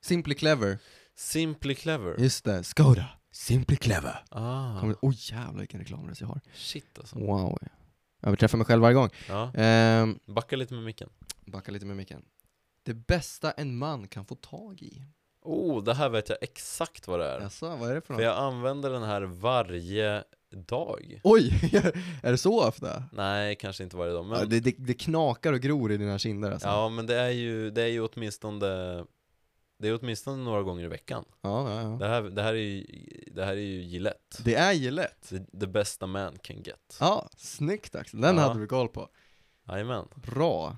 Speaker 1: Simply Clever.
Speaker 2: Simply Clever.
Speaker 1: Just det, Skoda. Simply Clever.
Speaker 2: Ah,
Speaker 1: Kommer, Mm. oh jävlar vilken reklamröst jag har.
Speaker 2: shit alltså.
Speaker 1: Wow. Jag överträffar mig själv varje gång.
Speaker 2: Ja,
Speaker 1: Ehm,
Speaker 2: backa lite med micken.
Speaker 1: backa lite med micken. Det bästa en man kan få tag i.
Speaker 2: Oh, det här vet jag exakt vad det är.
Speaker 1: Jaså, vad är det för
Speaker 2: För
Speaker 1: något?
Speaker 2: jag använder den här varje dag.
Speaker 1: Oj, är det så ofta?
Speaker 2: Nej, kanske inte varje dag, men
Speaker 1: Ja,
Speaker 2: ja,
Speaker 1: det, det, det knakar och gror i dina kinder alltså.
Speaker 2: men det är ju, det är ju åtminstone det är åtminstone några gånger i veckan.
Speaker 1: ja, ja, ja.
Speaker 2: Det här, det här, är, ju, det här är ju Gillette.
Speaker 1: Det är Gillette.
Speaker 2: The, the bästa man can get.
Speaker 1: Ja, snyggt Axel. Den
Speaker 2: Ja.
Speaker 1: hade du koll på.
Speaker 2: Jajamän.
Speaker 1: Bra.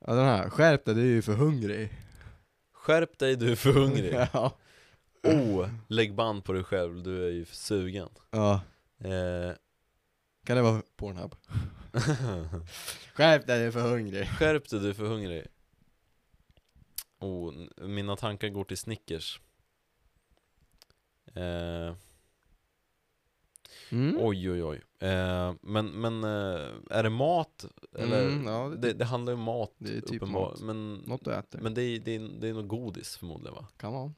Speaker 1: Ja den här, skärp dig, du är ju för hungrig.
Speaker 2: Skärp dig, du är för hungrig.
Speaker 1: ja.
Speaker 2: Oh, lägg band på dig själv, du är ju för sugen.
Speaker 1: ja.
Speaker 2: Eh,
Speaker 1: Kan det vara Pornhub? Skärp dig, du är för hungrig.
Speaker 2: skärp dig, du är för hungrig. Oh, n- mina tankar går till Snickers. Eh,
Speaker 1: Mm.
Speaker 2: Oj, oj, oj. Eh, men men eh, är det mat? Eller?
Speaker 1: Mm, ja, det-
Speaker 2: det, det, handlar ju om mat,
Speaker 1: det är typ
Speaker 2: uppenbar-
Speaker 1: mat.
Speaker 2: Men,
Speaker 1: Något du äter.
Speaker 2: men det, är, det, är, det är nog godis förmodligen va?
Speaker 1: Come on.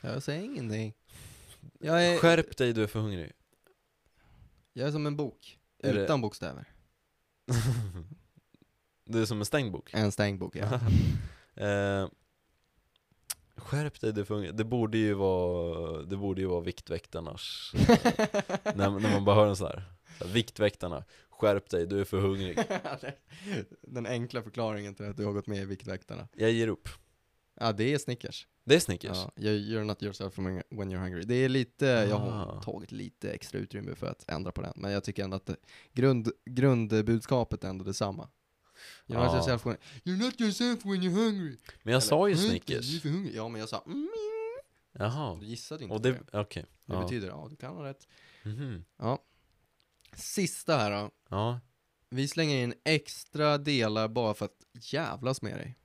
Speaker 1: Jag säger ingenting. Jag är,
Speaker 2: Skärp dig, du är för hungrig.
Speaker 1: jag är som en bok.
Speaker 2: Är det-
Speaker 1: Utan bokstäver.
Speaker 2: Det är som en stängd bok.
Speaker 1: En stängd bok, ja.
Speaker 2: eh, skärp dig, du är för hungrig. Det borde ju vara, det borde ju vara Viktväktarnas, när, när man bara hör en sån här. Så här, Viktväktarna, skärp dig, du är för hungrig.
Speaker 1: Den enkla förklaringen till att du har gått med i Viktväktarna.
Speaker 2: Jag ger upp.
Speaker 1: Ja, det är Snickers.
Speaker 2: Det är Snickers.
Speaker 1: Ja, you're you're not yourself when when you're hungry. Det är lite, jag har
Speaker 2: Ah.
Speaker 1: tagit lite extra utrymme för att ändra på den. Men jag tycker ändå att det, grund, grundbudskapet är ändå detsamma. You're not,
Speaker 2: Ja.
Speaker 1: yourself when, you're not yourself when you're hungry.
Speaker 2: Men Ah. jag sa ju
Speaker 1: Eller, Mm. "Du är
Speaker 2: Snickers.
Speaker 1: för hungrig." Ja, men jag sa mm,
Speaker 2: Jaha.
Speaker 1: Du gissade inte
Speaker 2: Och
Speaker 1: det,
Speaker 2: det,
Speaker 1: det.
Speaker 2: okej.
Speaker 1: Det
Speaker 2: ja.
Speaker 1: betyder, ja, du kan ha rätt.
Speaker 2: Mhm.
Speaker 1: Sista här då.
Speaker 2: Ja.
Speaker 1: Vi slänger in extra delar bara för att jävlas med dig.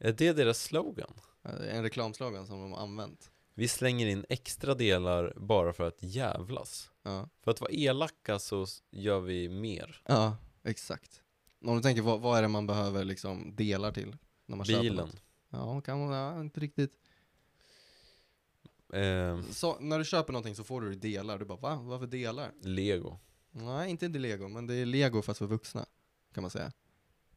Speaker 2: Är det deras slogan?
Speaker 1: Eh, En reklamslagan som de har använt.
Speaker 2: Vi slänger in extra delar bara för att jävlas.
Speaker 1: Ja,
Speaker 2: För att vara elaka så s- gör vi mer.
Speaker 1: ja exakt. Om du tänker, vad, vad är det man behöver liksom delar till? När man köper
Speaker 2: Bilen.
Speaker 1: något? Ja, kan man, ja, inte riktigt.
Speaker 2: Eh, Ehm, Mm.
Speaker 1: Så, när du köper någonting så får du delar, du bara va? Varför delar?
Speaker 2: Lego.
Speaker 1: Nej, inte det lego, men det är lego fast för vuxna, kan man säga.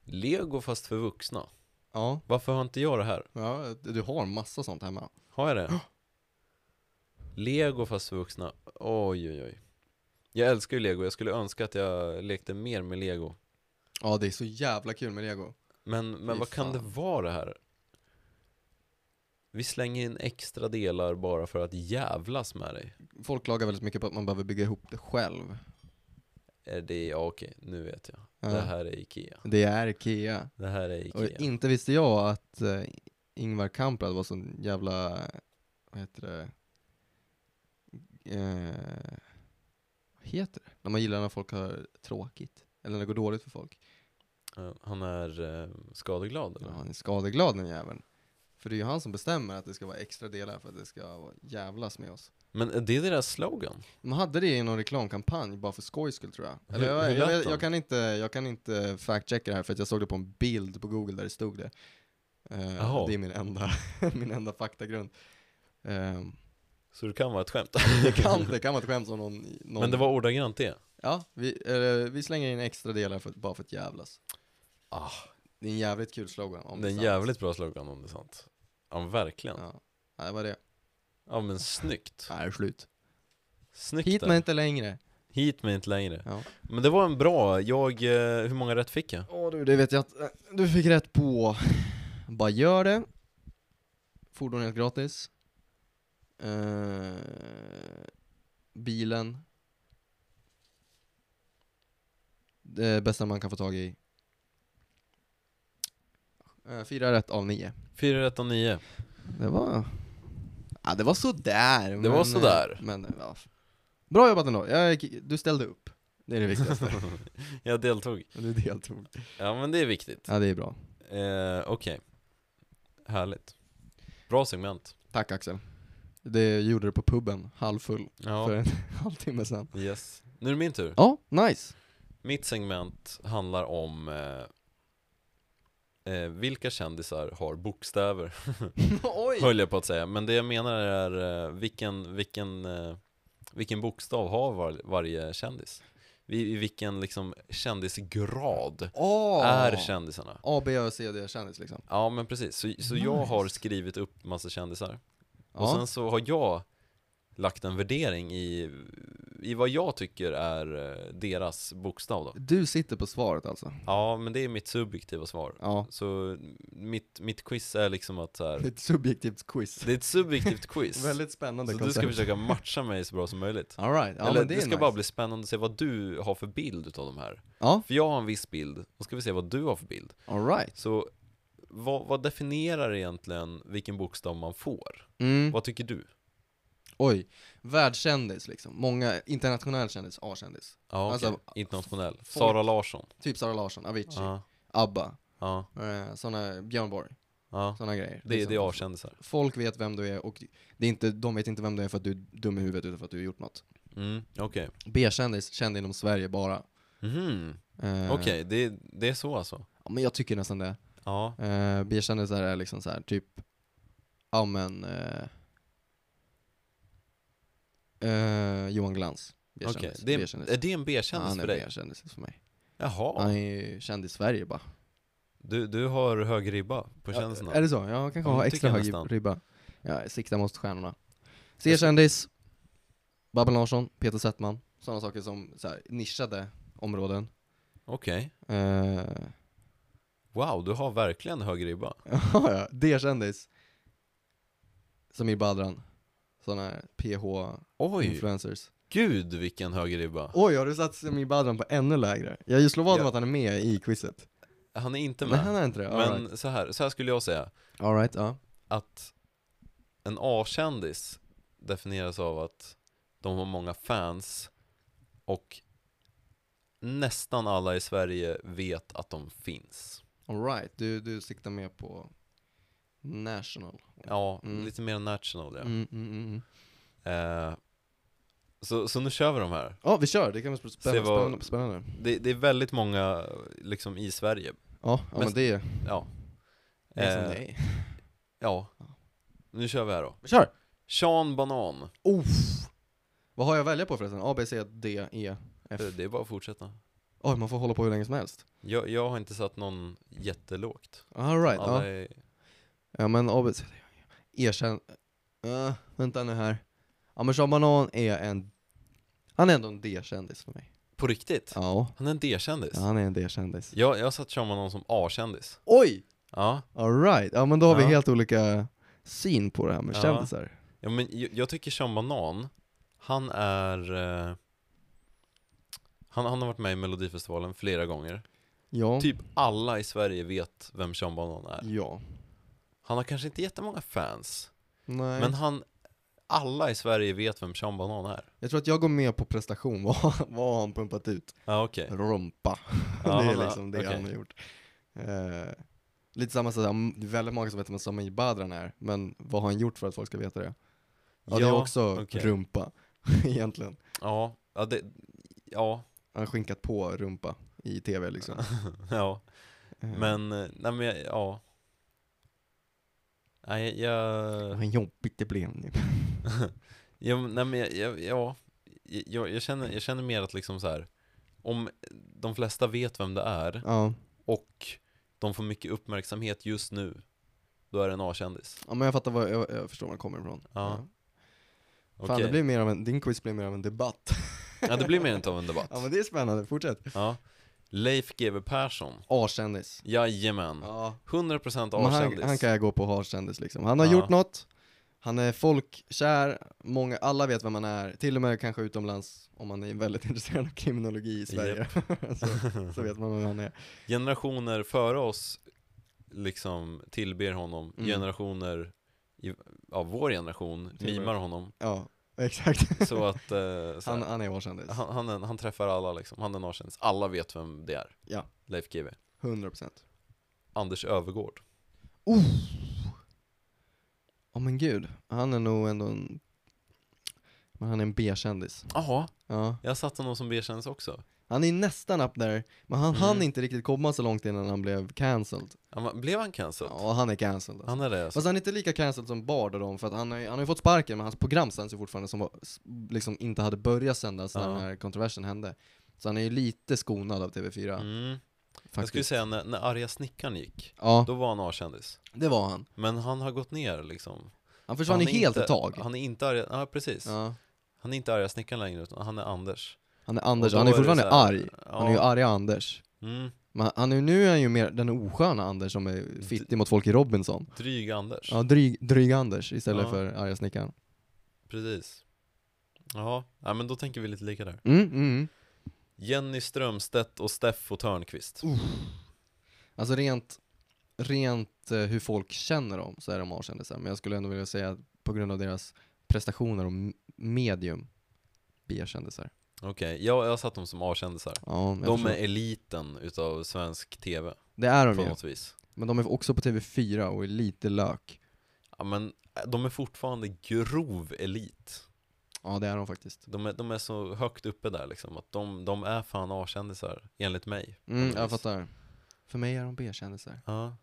Speaker 2: Lego fast för vuxna.
Speaker 1: Ja,
Speaker 2: Varför har inte jag det här?
Speaker 1: ja du har massa sånt hemma.
Speaker 2: Har jag det? Lego fast för vuxna. Oj, oj, oj. Jag älskar ju lego. Jag skulle önska att jag lekte mer med lego.
Speaker 1: Ja, det är så jävla kul med lego.
Speaker 2: Men, men
Speaker 1: Fy
Speaker 2: vad kan det
Speaker 1: fan.
Speaker 2: vara det här? Vi slänger in extra delar bara för att jävlas med dig.
Speaker 1: Folk klagar väldigt mycket på att man behöver bygga ihop det själv.
Speaker 2: Är det, ja okej, nu vet jag.
Speaker 1: Ja.
Speaker 2: Det här är Ikea.
Speaker 1: Eh, Det är Ikea.
Speaker 2: Det här är
Speaker 1: Och
Speaker 2: Ikea.
Speaker 1: inte visste jag att eh, Ingvar Kamprad var sån jävla, vad heter det, eh, vad heter det? När man gillar när folk har tråkigt, eller när det går dåligt för folk.
Speaker 2: Ja, Han är eh, skadeglad
Speaker 1: Ja,
Speaker 2: eller?
Speaker 1: han är skadeglad den jäveln. För det är ju han som bestämmer att det ska vara extra delar för att det ska vara- jävlas med oss.
Speaker 2: Men är det deras slogan?
Speaker 1: De hade det i någon reklamkampanj bara för skojs skull tror jag. Eller
Speaker 2: Hur-
Speaker 1: jag,
Speaker 2: hur
Speaker 1: jag,
Speaker 2: lät
Speaker 1: jag,
Speaker 2: de?
Speaker 1: jag kan inte, jag kan inte fact-checka det här för att jag såg det på en bild på google där det stod det. Eh,
Speaker 2: Jaha.
Speaker 1: det är min enda, min enda faktagrund. Eh,
Speaker 2: Så det kan vara ett skämt.
Speaker 1: det, kan, det kan vara ett skämt om någon, någon...
Speaker 2: Men det var ordagrant det.
Speaker 1: Ja, vi, eh, vi slänger in extra delar för, bara för att jävlas.
Speaker 2: Ah.
Speaker 1: Det är en jävligt kul slogan. Om
Speaker 2: det är en
Speaker 1: sant.
Speaker 2: jävligt bra slogan om det är sant. Ja, verkligen. Ja,
Speaker 1: Ja. ja, det var det.
Speaker 2: men snyggt.
Speaker 1: Det här är slut.
Speaker 2: Snyggt
Speaker 1: Hit
Speaker 2: där.
Speaker 1: men inte längre.
Speaker 2: Hit men inte längre.
Speaker 1: Ja.
Speaker 2: Men det var en bra, jag, eh, hur många rätt fick jag?
Speaker 1: Åh du, det vet jag att eh, du fick rätt på Bara gör det Fordon är helt gratis eh, Bilen Det bästa man kan få tag i eh, Fyra rätt av nio
Speaker 2: Fyra rätt och nio.
Speaker 1: Det var Ja det var sådär Det
Speaker 2: var sådär.
Speaker 1: Men eh, ja. Bra jobbat ändå, jag, du ställde upp Det är det viktigaste,
Speaker 2: Jag deltog.
Speaker 1: du deltog
Speaker 2: Ja men det är viktigt.
Speaker 1: Ja det är bra
Speaker 2: Eh, Okej. Härligt. Bra segment.
Speaker 1: Tack Axel. Det gjorde du på puben, halvfull,
Speaker 2: Ja.
Speaker 1: för en halvtimme sedan.
Speaker 2: Yes. Nu är det min tur.
Speaker 1: Ja, nice.
Speaker 2: Mitt segment handlar om eh, eh, vilka kändisar har bokstäver,
Speaker 1: Oj!
Speaker 2: höll jag på att säga. Men det jag menar är eh, vilken, vilken, eh, vilken bokstav har var, varje kändis? I, i vilken liksom, kändisgrad
Speaker 1: Åh!
Speaker 2: är kändisarna?
Speaker 1: A, B, Ö, C, D kändis liksom.
Speaker 2: Ja men precis, så, så jag har
Speaker 1: Nice.
Speaker 2: skrivit upp massa kändisar
Speaker 1: Ja.
Speaker 2: Och sen så har jag lagt en värdering i, i vad jag tycker är eh, deras bokstav då
Speaker 1: Du sitter på svaret alltså?
Speaker 2: Ja men det är mitt subjektiva svar
Speaker 1: Ja.
Speaker 2: Så mitt, mitt quiz är liksom att så här,
Speaker 1: Ett subjektivt quiz.
Speaker 2: Det är ett subjektivt quiz
Speaker 1: Väldigt spännande
Speaker 2: Så du ska försöka matcha mig så bra som möjligt
Speaker 1: Alright, ja
Speaker 2: Eller
Speaker 1: men det,
Speaker 2: det,
Speaker 1: är
Speaker 2: ska
Speaker 1: nice.
Speaker 2: bara bli spännande att se vad du har för bild utav de här
Speaker 1: Ja,
Speaker 2: För jag har en viss bild, då ska vi se vad du har för bild
Speaker 1: alright.
Speaker 2: Så vad, vad definierar egentligen vilken bokstav man får?
Speaker 1: Mm.
Speaker 2: Vad tycker du?
Speaker 1: Oj. Världskändis liksom. Många, internationell kändis, A-kändis.
Speaker 2: Ja,
Speaker 1: Alltså,
Speaker 2: okej. internationell.
Speaker 1: folk-
Speaker 2: Sara Larsson.
Speaker 1: Typ Sara Larsson, Avicii,
Speaker 2: Ja,
Speaker 1: ABBA,
Speaker 2: ja,
Speaker 1: eh, såna, Björn Borg,
Speaker 2: ja.
Speaker 1: såna grejer.
Speaker 2: Det, det
Speaker 1: Liksom.
Speaker 2: är A-kändisar.
Speaker 1: Folk vet vem du är och det är inte, de vet inte vem du är för att du är dum i huvudet utan för att du har gjort något.
Speaker 2: Mm, okej.
Speaker 1: B-kändis, känd inom Sverige bara.
Speaker 2: Mhm,
Speaker 1: Eh,
Speaker 2: Okej, det, det är så alltså?
Speaker 1: Ja, men jag tycker nästan det.
Speaker 2: Ja,
Speaker 1: Eh, B-kändisar är liksom så här typ, ja men, eh, eh, Johan Glans.
Speaker 2: okej.
Speaker 1: B-kändis.
Speaker 2: Det
Speaker 1: B-kändis.
Speaker 2: är, är det en
Speaker 1: Ja,
Speaker 2: B-kändis
Speaker 1: han är
Speaker 2: för dig?
Speaker 1: B-kändis för mig.
Speaker 2: Jaha,
Speaker 1: Han är ju känd i Sverige bara.
Speaker 2: du, du har hög ribba på kändisarna?
Speaker 1: Ja, är det så? Jag kanske
Speaker 2: Ja,
Speaker 1: har
Speaker 2: det
Speaker 1: extra
Speaker 2: tycker jag
Speaker 1: hög
Speaker 2: nästan.
Speaker 1: ribba. Jag siktar mot stjärnorna.
Speaker 2: Jag ska-
Speaker 1: C-kändis, Babben Larsson, Peter Settman. Sådana saker som så här, nischade områden.
Speaker 2: Okej.
Speaker 1: Eh,
Speaker 2: Wow, du har verkligen hög ribba.
Speaker 1: ja, ja. D-kändis, Samir Badran. Sådana här PH-influencers.
Speaker 2: Oj, gud vilken hög ribba.
Speaker 1: Oj, har du satt Samir Badran på ännu lägre? Jag är ju slå vad om
Speaker 2: Ja.
Speaker 1: att han är med i quizet.
Speaker 2: Han är inte
Speaker 1: Nej, han
Speaker 2: med.
Speaker 1: är inte det. Alright,
Speaker 2: Men så, här, så här skulle jag säga.
Speaker 1: All right, ja.
Speaker 2: att en A-kändis definieras av att de har många fans och nästan alla i Sverige vet att de finns.
Speaker 1: All right. Du, du siktar mer på national.
Speaker 2: Ja,
Speaker 1: Mm.
Speaker 2: lite mer national ja.
Speaker 1: Mm, mm, mm, mm.
Speaker 2: Eh, så, så nu kör vi de här.
Speaker 1: Ja, vi kör. Det kan bli
Speaker 2: Se
Speaker 1: spännande.
Speaker 2: vad-
Speaker 1: spännande, spännande.
Speaker 2: Det, det är väldigt många liksom i Sverige.
Speaker 1: Ja, ja
Speaker 2: Men-
Speaker 1: men det är
Speaker 2: Ja.
Speaker 1: det är
Speaker 2: Eh,
Speaker 1: som det är.
Speaker 2: ja. Nu kör vi här då.
Speaker 1: Vi kör!
Speaker 2: Sean Banan.
Speaker 1: Uff. Vad har jag att välja på förresten? A, B, C, D, E. F.
Speaker 2: Det är bara att fortsätta.
Speaker 1: Oj, man får hålla på hur länge som helst.
Speaker 2: Jag, jag har inte satt någon jättelågt.
Speaker 1: All right, ja.
Speaker 2: Alla är,
Speaker 1: ja men ABC, E, erkänn, Eh, vänta nu här. Ja men Sean Banan är en, han är ändå en D-kändis för mig.
Speaker 2: på riktigt?
Speaker 1: Ja,
Speaker 2: Han är en D-kändis.
Speaker 1: ja, han är en D-kändis.
Speaker 2: Jag, jag har satt Sean Manon som A-kändis.
Speaker 1: Oj!
Speaker 2: Ja.
Speaker 1: All right, ja men då har vi
Speaker 2: Ja.
Speaker 1: helt olika syn på det här med
Speaker 2: Ja.
Speaker 1: kändisar.
Speaker 2: ja, men jag, jag tycker Sean Banan, han är... Eh, han, han har varit med i Melodifestivalen flera gånger.
Speaker 1: Ja. Mm.
Speaker 2: Typ alla i Sverige vet vem Sean Banan är.
Speaker 1: Ja.
Speaker 2: Han har kanske inte jättemånga fans,
Speaker 1: Nej.
Speaker 2: men han... Alla i Sverige vet vem Sean Banan är.
Speaker 1: Jag tror att jag går med på prestation, vad, vad har han pumpat ut?
Speaker 2: Ja, okej.
Speaker 1: Rumpa. det
Speaker 2: Ja,
Speaker 1: är
Speaker 2: han har-
Speaker 1: liksom det han
Speaker 2: okej.
Speaker 1: har gjort. Eh, lite samma sak, det är väldigt många som vet vem Sami Badran är, men vad har han gjort för att folk ska veta det? Ja, det är också
Speaker 2: okej.
Speaker 1: rumpa, egentligen.
Speaker 2: Ja, ja, det, ja,
Speaker 1: Han har skinkat på rumpa i tv liksom.
Speaker 2: ja.
Speaker 1: Eh,
Speaker 2: Men, eh, nej men jag, ja. Nej, jag,
Speaker 1: Vad jobbigt det blev nu.
Speaker 2: ja, men- nej men jag, jag, ja. Jag, jag, känner, jag känner mer att liksom så här. om de flesta vet vem det är
Speaker 1: ja.
Speaker 2: och de får mycket uppmärksamhet just nu, då är det en A-kändis.
Speaker 1: ja, men jag fattar, vad, jag, jag förstår var han kommer ifrån.
Speaker 2: Ja,
Speaker 1: Fan,
Speaker 2: Okej.
Speaker 1: det blir mer av en, din quiz blir mer av en debatt.
Speaker 2: Ja, det blir mer utav en debatt.
Speaker 1: ja, men det är spännande, fortsätt.
Speaker 2: Ja. Leif GW Persson,
Speaker 1: A-kändis.
Speaker 2: jajamän.
Speaker 1: Ja.
Speaker 2: 100%
Speaker 1: Men han,
Speaker 2: A-kändis.
Speaker 1: han kan jag gå på harkändis liksom. Han har
Speaker 2: Ja.
Speaker 1: gjort något, han är folkkär, många, alla vet vem han är, till och med kanske utomlands om man är väldigt intresserad av kriminologi i Sverige. så, så vet man vem han är.
Speaker 2: generationer före oss liksom tillber honom,
Speaker 1: Mm.
Speaker 2: generationer i, av vår generation
Speaker 1: Tillber.
Speaker 2: mimar honom.
Speaker 1: Ja, exakt.
Speaker 2: Så att eh, så
Speaker 1: han,
Speaker 2: han,
Speaker 1: han är harkändis.
Speaker 2: han, han, är- han träffar alla liksom, han är en A-kändis. Alla vet vem det är.
Speaker 1: Ja.
Speaker 2: Leif GW.
Speaker 1: 100%.
Speaker 2: Anders Övergård.
Speaker 1: Oh! Åh men gud, han är nog ändå en... Men han är en B-kändis.
Speaker 2: Jaha,
Speaker 1: Ja.
Speaker 2: jag satte honom som B-kändis också.
Speaker 1: Han är nästan up there, men han
Speaker 2: Mm.
Speaker 1: hann inte riktigt komma så långt innan han blev cancelled.
Speaker 2: Han, var- blev han cancelled?
Speaker 1: Ja, han är cancelled. Alltså.
Speaker 2: Han är det alltså.
Speaker 1: Fast han är inte lika cancelled som Bard och dem, för att han har, ju- han har ju fått sparken, men hans program sänds ju fortfarande som var, s- liksom inte hade börjat sändas när
Speaker 2: Ja.
Speaker 1: den här kontroversen hände. Så han är ju lite skonad av TV4,
Speaker 2: Mm. Jag skulle
Speaker 1: faktiskt.
Speaker 2: säga när, när arga snickaren gick,
Speaker 1: Ja,
Speaker 2: då var han A-kändis.
Speaker 1: det var han.
Speaker 2: Men han har gått ner liksom.
Speaker 1: Han försvann ju
Speaker 2: är
Speaker 1: helt
Speaker 2: inte-
Speaker 1: ett tag. Han,
Speaker 2: Han är inte arga, ja precis.
Speaker 1: ja.
Speaker 2: Han är inte arga snickaren längre utan han är Anders.
Speaker 1: han är Anders,
Speaker 2: Och då
Speaker 1: han är
Speaker 2: det
Speaker 1: fortfarande
Speaker 2: så här,
Speaker 1: arg.
Speaker 2: Ja,
Speaker 1: Han är ju arga Anders.
Speaker 2: mm,
Speaker 1: Men han- han är, nu är han ju mer den osköna Anders som är fittig mot folk i Robinson.
Speaker 2: dryg Anders.
Speaker 1: Ja, dryg, dryg Anders istället
Speaker 2: Ja.
Speaker 1: för arga snickaren.
Speaker 2: Precis. Jaha, ja, men då tänker vi lite lika där.
Speaker 1: Mm, mm, mm.
Speaker 2: Jenny Strömstedt och Steffo Törnqvist.
Speaker 1: Alltså rent, rent eh, hur folk känner dem så är de A-kändisar, men jag skulle ändå vilja säga att på grund av deras prestationer och m- medium, B-kändisar.
Speaker 2: Okej, jag, jag har satt dem som A-kändisar.
Speaker 1: Ja, Mm. jag
Speaker 2: De
Speaker 1: förstår.
Speaker 2: är eliten utav svensk TV
Speaker 1: det är de
Speaker 2: på
Speaker 1: ju,
Speaker 2: något vis.
Speaker 1: men de är också på TV4 och är lite lök.
Speaker 2: Ja, men eh, de är fortfarande grov elit.
Speaker 1: Ja, det är de faktiskt.
Speaker 2: De är, de är så högt uppe där liksom, att de, de är fan A-kändisar, enligt mig.
Speaker 1: Mm,
Speaker 2: något
Speaker 1: jag
Speaker 2: vis.
Speaker 1: fattar. För mig är de B-kändisar.
Speaker 2: Ja.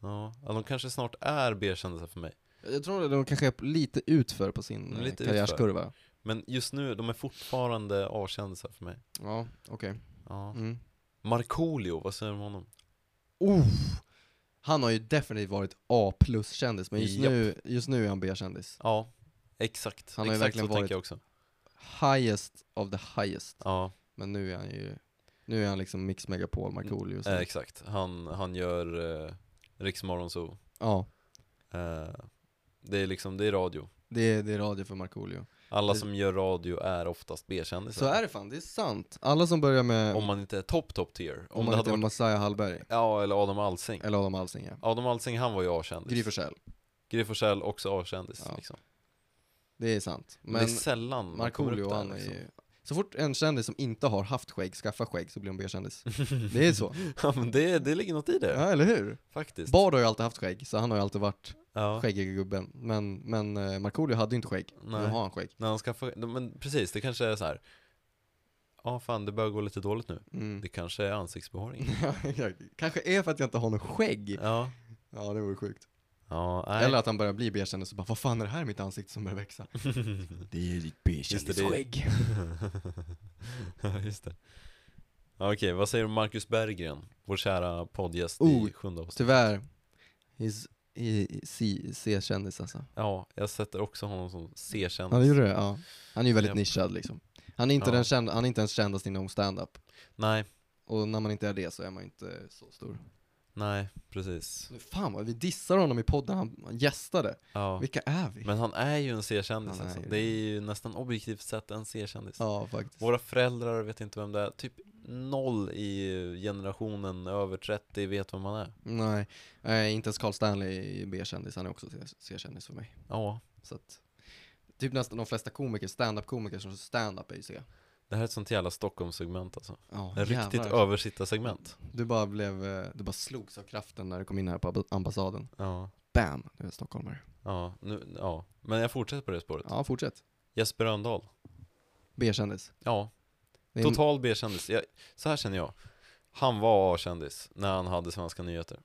Speaker 2: Ja, ja, de kanske snart är B-kändisar för mig.
Speaker 1: Jag tror att de kanske är lite utför på sin
Speaker 2: Mm,
Speaker 1: eh,
Speaker 2: lite
Speaker 1: karriärskurva.
Speaker 2: Men just nu, de är fortfarande A-kändisar för mig.
Speaker 1: Ja, okej.
Speaker 2: Ja.
Speaker 1: Mm.
Speaker 2: Markoolio, vad säger du om honom?
Speaker 1: Oh! Han har ju definitivt varit A plus-kändis, men just
Speaker 2: Japp.
Speaker 1: nu, just nu är han B-kändis.
Speaker 2: Ja, exakt.
Speaker 1: Han har ju
Speaker 2: exakt
Speaker 1: verkligen
Speaker 2: så tänker
Speaker 1: varit-
Speaker 2: jag också.
Speaker 1: highest of the highest.
Speaker 2: Ja,
Speaker 1: Men nu är han ju, nu är han liksom Mix Megapol, Markoolio och så.
Speaker 2: eh, exakt. Han, han gör eh, Riksmorgon Zoo.
Speaker 1: Ja,
Speaker 2: Eh, det är liksom, det är radio.
Speaker 1: det är, det är radio för Markoolio.
Speaker 2: Alla
Speaker 1: Det-
Speaker 2: som gör radio är oftast B-kändisar.
Speaker 1: Så är det fan, det är sant. Alla som börjar med,
Speaker 2: Om
Speaker 1: om,
Speaker 2: man inte är top, top tier.
Speaker 1: man
Speaker 2: Om, det hade
Speaker 1: heter
Speaker 2: varit,
Speaker 1: Messiah Hallberg,
Speaker 2: ja eller Adam Alsing.
Speaker 1: eller Adam Alsing ja.
Speaker 2: Adam Alsing, han var ju A-kändis.
Speaker 1: Gry Forssell,
Speaker 2: Gry Forssell, också A-kändis.
Speaker 1: Ja.
Speaker 2: Liksom.
Speaker 1: det är sant.
Speaker 2: Men det är
Speaker 1: Men
Speaker 2: sällan man kommer
Speaker 1: Markoolio,
Speaker 2: upp där.
Speaker 1: han är
Speaker 2: Liksom.
Speaker 1: ju så fort en kändis som inte har haft skägg skaffar skägg så blir de B-kändis. Det är så.
Speaker 2: ja, men det, det ligger något i det,
Speaker 1: Ja, eller hur?
Speaker 2: faktiskt.
Speaker 1: Bard har ju alltid haft skägg, så han har ju alltid varit
Speaker 2: ja.
Speaker 1: skäggiga gubben. Men, men eh, Markoolio hade ju inte skägg, nu
Speaker 2: Nej.
Speaker 1: har han skägg.
Speaker 2: När han skaffar, men precis, det kanske är så här. Ja, fan, det börjar gå lite dåligt nu.
Speaker 1: Mm.
Speaker 2: Det kanske är ansiktsbehåring.
Speaker 1: Kanske är för att jag inte har något skägg.
Speaker 2: Ja,
Speaker 1: Ja, det vore sjukt.
Speaker 4: Ja, nej.
Speaker 1: Eller att han börjar bli bekänd så bara, vad fan är det här i mitt ansikte som börjar växa? det är ditt bekändisskägg.
Speaker 2: Ja, Just det. Ja, Okej, vad säger du om Marcus Berggren? Vår kära poddgäst
Speaker 1: Oh.
Speaker 2: i sjunde avsnittet.
Speaker 1: Tyvärr, he's, he, he, C-kändis alltså.
Speaker 2: Ja, jag sätter också honom som C-kändis.
Speaker 1: Ja, det gjorde det. Ja. Han är ju väldigt
Speaker 2: Ja.
Speaker 1: nischad liksom. Han är, inte
Speaker 2: Ja.
Speaker 1: den känd, han är inte ens kändast inom stand-up.
Speaker 2: Nej,
Speaker 1: Och när man inte är det så är man ju inte så stor.
Speaker 2: nej, precis.
Speaker 1: Så Fan vad vi dissar honom i podden han han gästade.
Speaker 2: Ja.
Speaker 1: Vilka är vi?
Speaker 2: Men han är ju en C-kändis
Speaker 1: Han är
Speaker 2: alltså.
Speaker 1: ju
Speaker 2: Det är ju nästan objektivt sett en C-kändis.
Speaker 1: Ja, faktiskt.
Speaker 2: Våra föräldrar vet inte vem det är. Typ noll i generationen över 30 vet vem han är.
Speaker 1: Nej, eh, inte ens Carl Stanley är B-kändis, han är också C- C-kändis för mig.
Speaker 2: Ja,
Speaker 1: Så att, typ nästan de flesta komiker, stand-up-komiker som kör stand-up är ju C.
Speaker 2: det här är ett sånt jävla Stockholmssegment alltså.
Speaker 1: Ja,
Speaker 2: Ett riktigt
Speaker 1: jävlar.
Speaker 2: översittarsegment.
Speaker 1: Du bara blev, eh, du bara slogs av kraften när du kom in här på ab- ambassaden.
Speaker 2: Ja,
Speaker 1: Bam, du är stockholmare.
Speaker 2: ja, nu, ja. Men jag fortsätter på det spåret.
Speaker 1: Ja, fortsätt.
Speaker 2: Jesper Rönndahl.
Speaker 1: B-kändis.
Speaker 2: Ja,
Speaker 1: Det är-
Speaker 2: total B-kändis. Jag, så här känner jag. Han var A-kändis när han hade Svenska nyheter.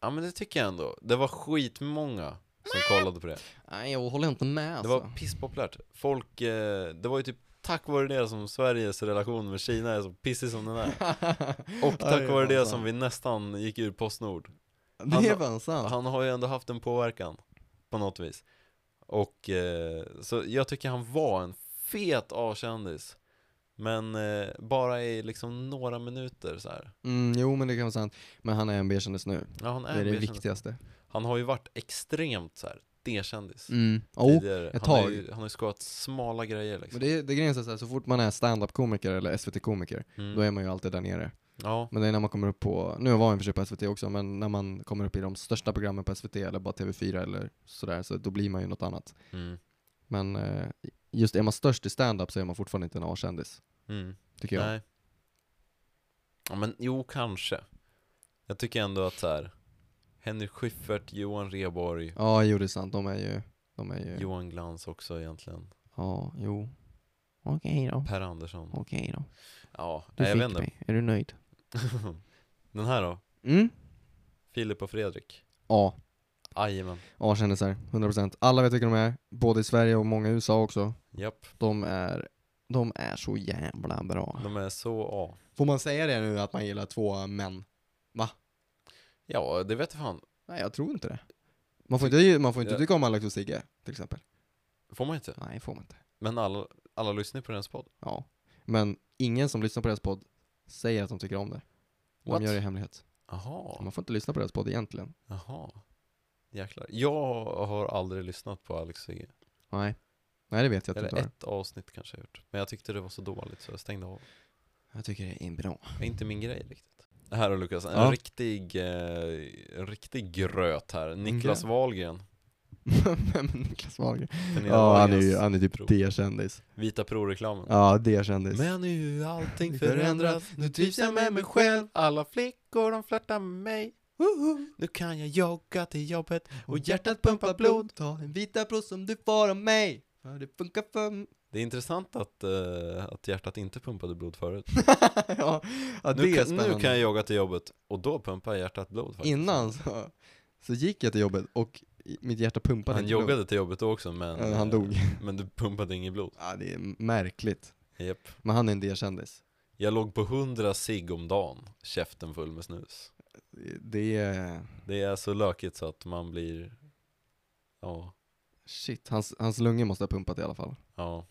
Speaker 2: Ja men det tycker jag ändå. Det var skitmånga som kollade på det.
Speaker 1: Nej, jag håller inte med
Speaker 2: Det
Speaker 1: alltså.
Speaker 2: var pisspopulärt. Folk, eh, det var ju typ tack vare det som Sveriges relation med Kina är så pissig som den är. Och tack vare det
Speaker 1: alltså.
Speaker 2: som vi nästan gick ur Postnord.
Speaker 1: Det är fan sant.
Speaker 2: Han har ju ändå haft en påverkan på något vis. Och eh, så jag tycker han var en fet A-kändis. Men eh, bara i liksom några minuter så här.
Speaker 1: Mm, jo, men det kan vara sant. Men han är en B-kändis nu.
Speaker 2: Ja, han
Speaker 1: Det
Speaker 2: är,
Speaker 1: är
Speaker 2: en
Speaker 1: det
Speaker 2: B-kändis.
Speaker 1: viktigaste.
Speaker 2: Han har ju varit extremt så här D-kändis.
Speaker 1: Mm. Jo,
Speaker 2: tidigare.
Speaker 1: ett
Speaker 2: han, har
Speaker 1: tag.
Speaker 2: ju, han har ju skojat smala grejer liksom.
Speaker 1: men det, det grejen är så här, så fort man är stand-up-komiker eller SVT-komiker,
Speaker 2: Mm.
Speaker 1: då är man ju alltid där nere.
Speaker 2: Ja,
Speaker 1: Men det är när man kommer upp på, nu var jag i och för sig på SVT också, men när man kommer upp i de största programmen på SVT eller bara TV4 eller sådär, så då blir man ju något annat.
Speaker 2: mm.
Speaker 1: Men eh, just är man störst i stand-up så är man fortfarande inte en A-kändis,
Speaker 2: Mm.
Speaker 1: tycker jag.
Speaker 2: Nej. Ja, men jo, kanske. Jag tycker ändå att så här, Henrik Schyffert, Johan Rheborg,
Speaker 1: Ja, jo det är sant, de är ju, de är ju, jo.
Speaker 2: Johan Glans också egentligen.
Speaker 1: ja, jo. Okej då,
Speaker 2: Per Andersson.
Speaker 1: okej då.
Speaker 2: Ja,
Speaker 1: Du
Speaker 2: nej, jag
Speaker 1: fick
Speaker 2: vet inte.
Speaker 1: mig, är du nöjd?
Speaker 2: Den här då?
Speaker 1: Mm?
Speaker 2: Filip och Fredrik.
Speaker 1: Ja,
Speaker 2: Jajamän.
Speaker 1: A-kändisar, 100%. Alla vet vilka de är, både i Sverige och många i USA också.
Speaker 2: Japp,
Speaker 1: De är, de är så jävla bra.
Speaker 2: de är så A.
Speaker 1: Får man säga det nu att man gillar två män?
Speaker 2: Ja, det vet jag fan.
Speaker 1: Nej, jag tror inte det. Man får inte, man får inte
Speaker 2: Ja.
Speaker 1: tycka om Alex och Sigge, till exempel.
Speaker 2: Får man inte?
Speaker 1: Nej, får man inte.
Speaker 2: Men alla, alla lyssnar ju på deras podd.
Speaker 1: Ja. Men ingen som lyssnar på deras podd säger att de tycker om det. De
Speaker 2: What?
Speaker 1: gör det i hemlighet.
Speaker 2: Jaha,
Speaker 1: Man får inte lyssna på deras podd egentligen.
Speaker 2: jaha. Jäklar. Jag har aldrig lyssnat på Alex och Sigge.
Speaker 1: Nej. Nej, det vet jag att du
Speaker 2: Eller
Speaker 1: inte har.
Speaker 2: ett avsnitt kanske jag gjort. Men jag tyckte det var så dåligt så jag stängde av.
Speaker 1: Jag tycker det är bra.
Speaker 2: Det är inte min grej riktigt. Det här då Lukas, en
Speaker 1: Ja.
Speaker 2: riktig, eh, en riktig gröt här. Niklas
Speaker 1: Gröt.
Speaker 2: Wahlgren.
Speaker 1: Men Niklas Wahlgren.
Speaker 2: Pernilla
Speaker 1: Ja, han är
Speaker 2: Wahlgrens
Speaker 1: ju, han är
Speaker 2: bror.
Speaker 1: typ D-kändis.
Speaker 2: Vita Pro-reklamen.
Speaker 1: Ja, D-kändis.
Speaker 2: Men nu är allting förändrat, nu trivs jag med mig själv. Alla flickor de flörtar med mig. Woho! Nu kan jag jogga till jobbet och
Speaker 1: Mm.
Speaker 2: hjärtat pumpar blod.
Speaker 1: ta en vita blod som du får av mig. För det funkar för
Speaker 2: Det är intressant att, eh, att hjärtat inte pumpade blod förut.
Speaker 1: ja, ja, det
Speaker 2: nu,
Speaker 1: är
Speaker 2: kan,
Speaker 1: spännande.
Speaker 2: nu kan jag jogga till jobbet och då pumpar hjärtat blod faktiskt.
Speaker 1: Innan så, så gick jag till jobbet och i- mitt hjärta pumpade
Speaker 2: Han
Speaker 1: inte blod.
Speaker 2: joggade till jobbet då också men,
Speaker 1: Ja, han
Speaker 2: eh,
Speaker 1: dog.
Speaker 2: men du pumpade inget blod.
Speaker 1: Ja, det är märkligt.
Speaker 2: Japp.
Speaker 1: Men han är en D-kändis.
Speaker 2: Jag låg på 100 cigg om dagen, käften full med snus.
Speaker 1: Det är...
Speaker 2: Det är så lökigt så att man blir, ja,
Speaker 1: Shit, hans, hans lungor måste ha pumpat i alla fall.
Speaker 2: ja,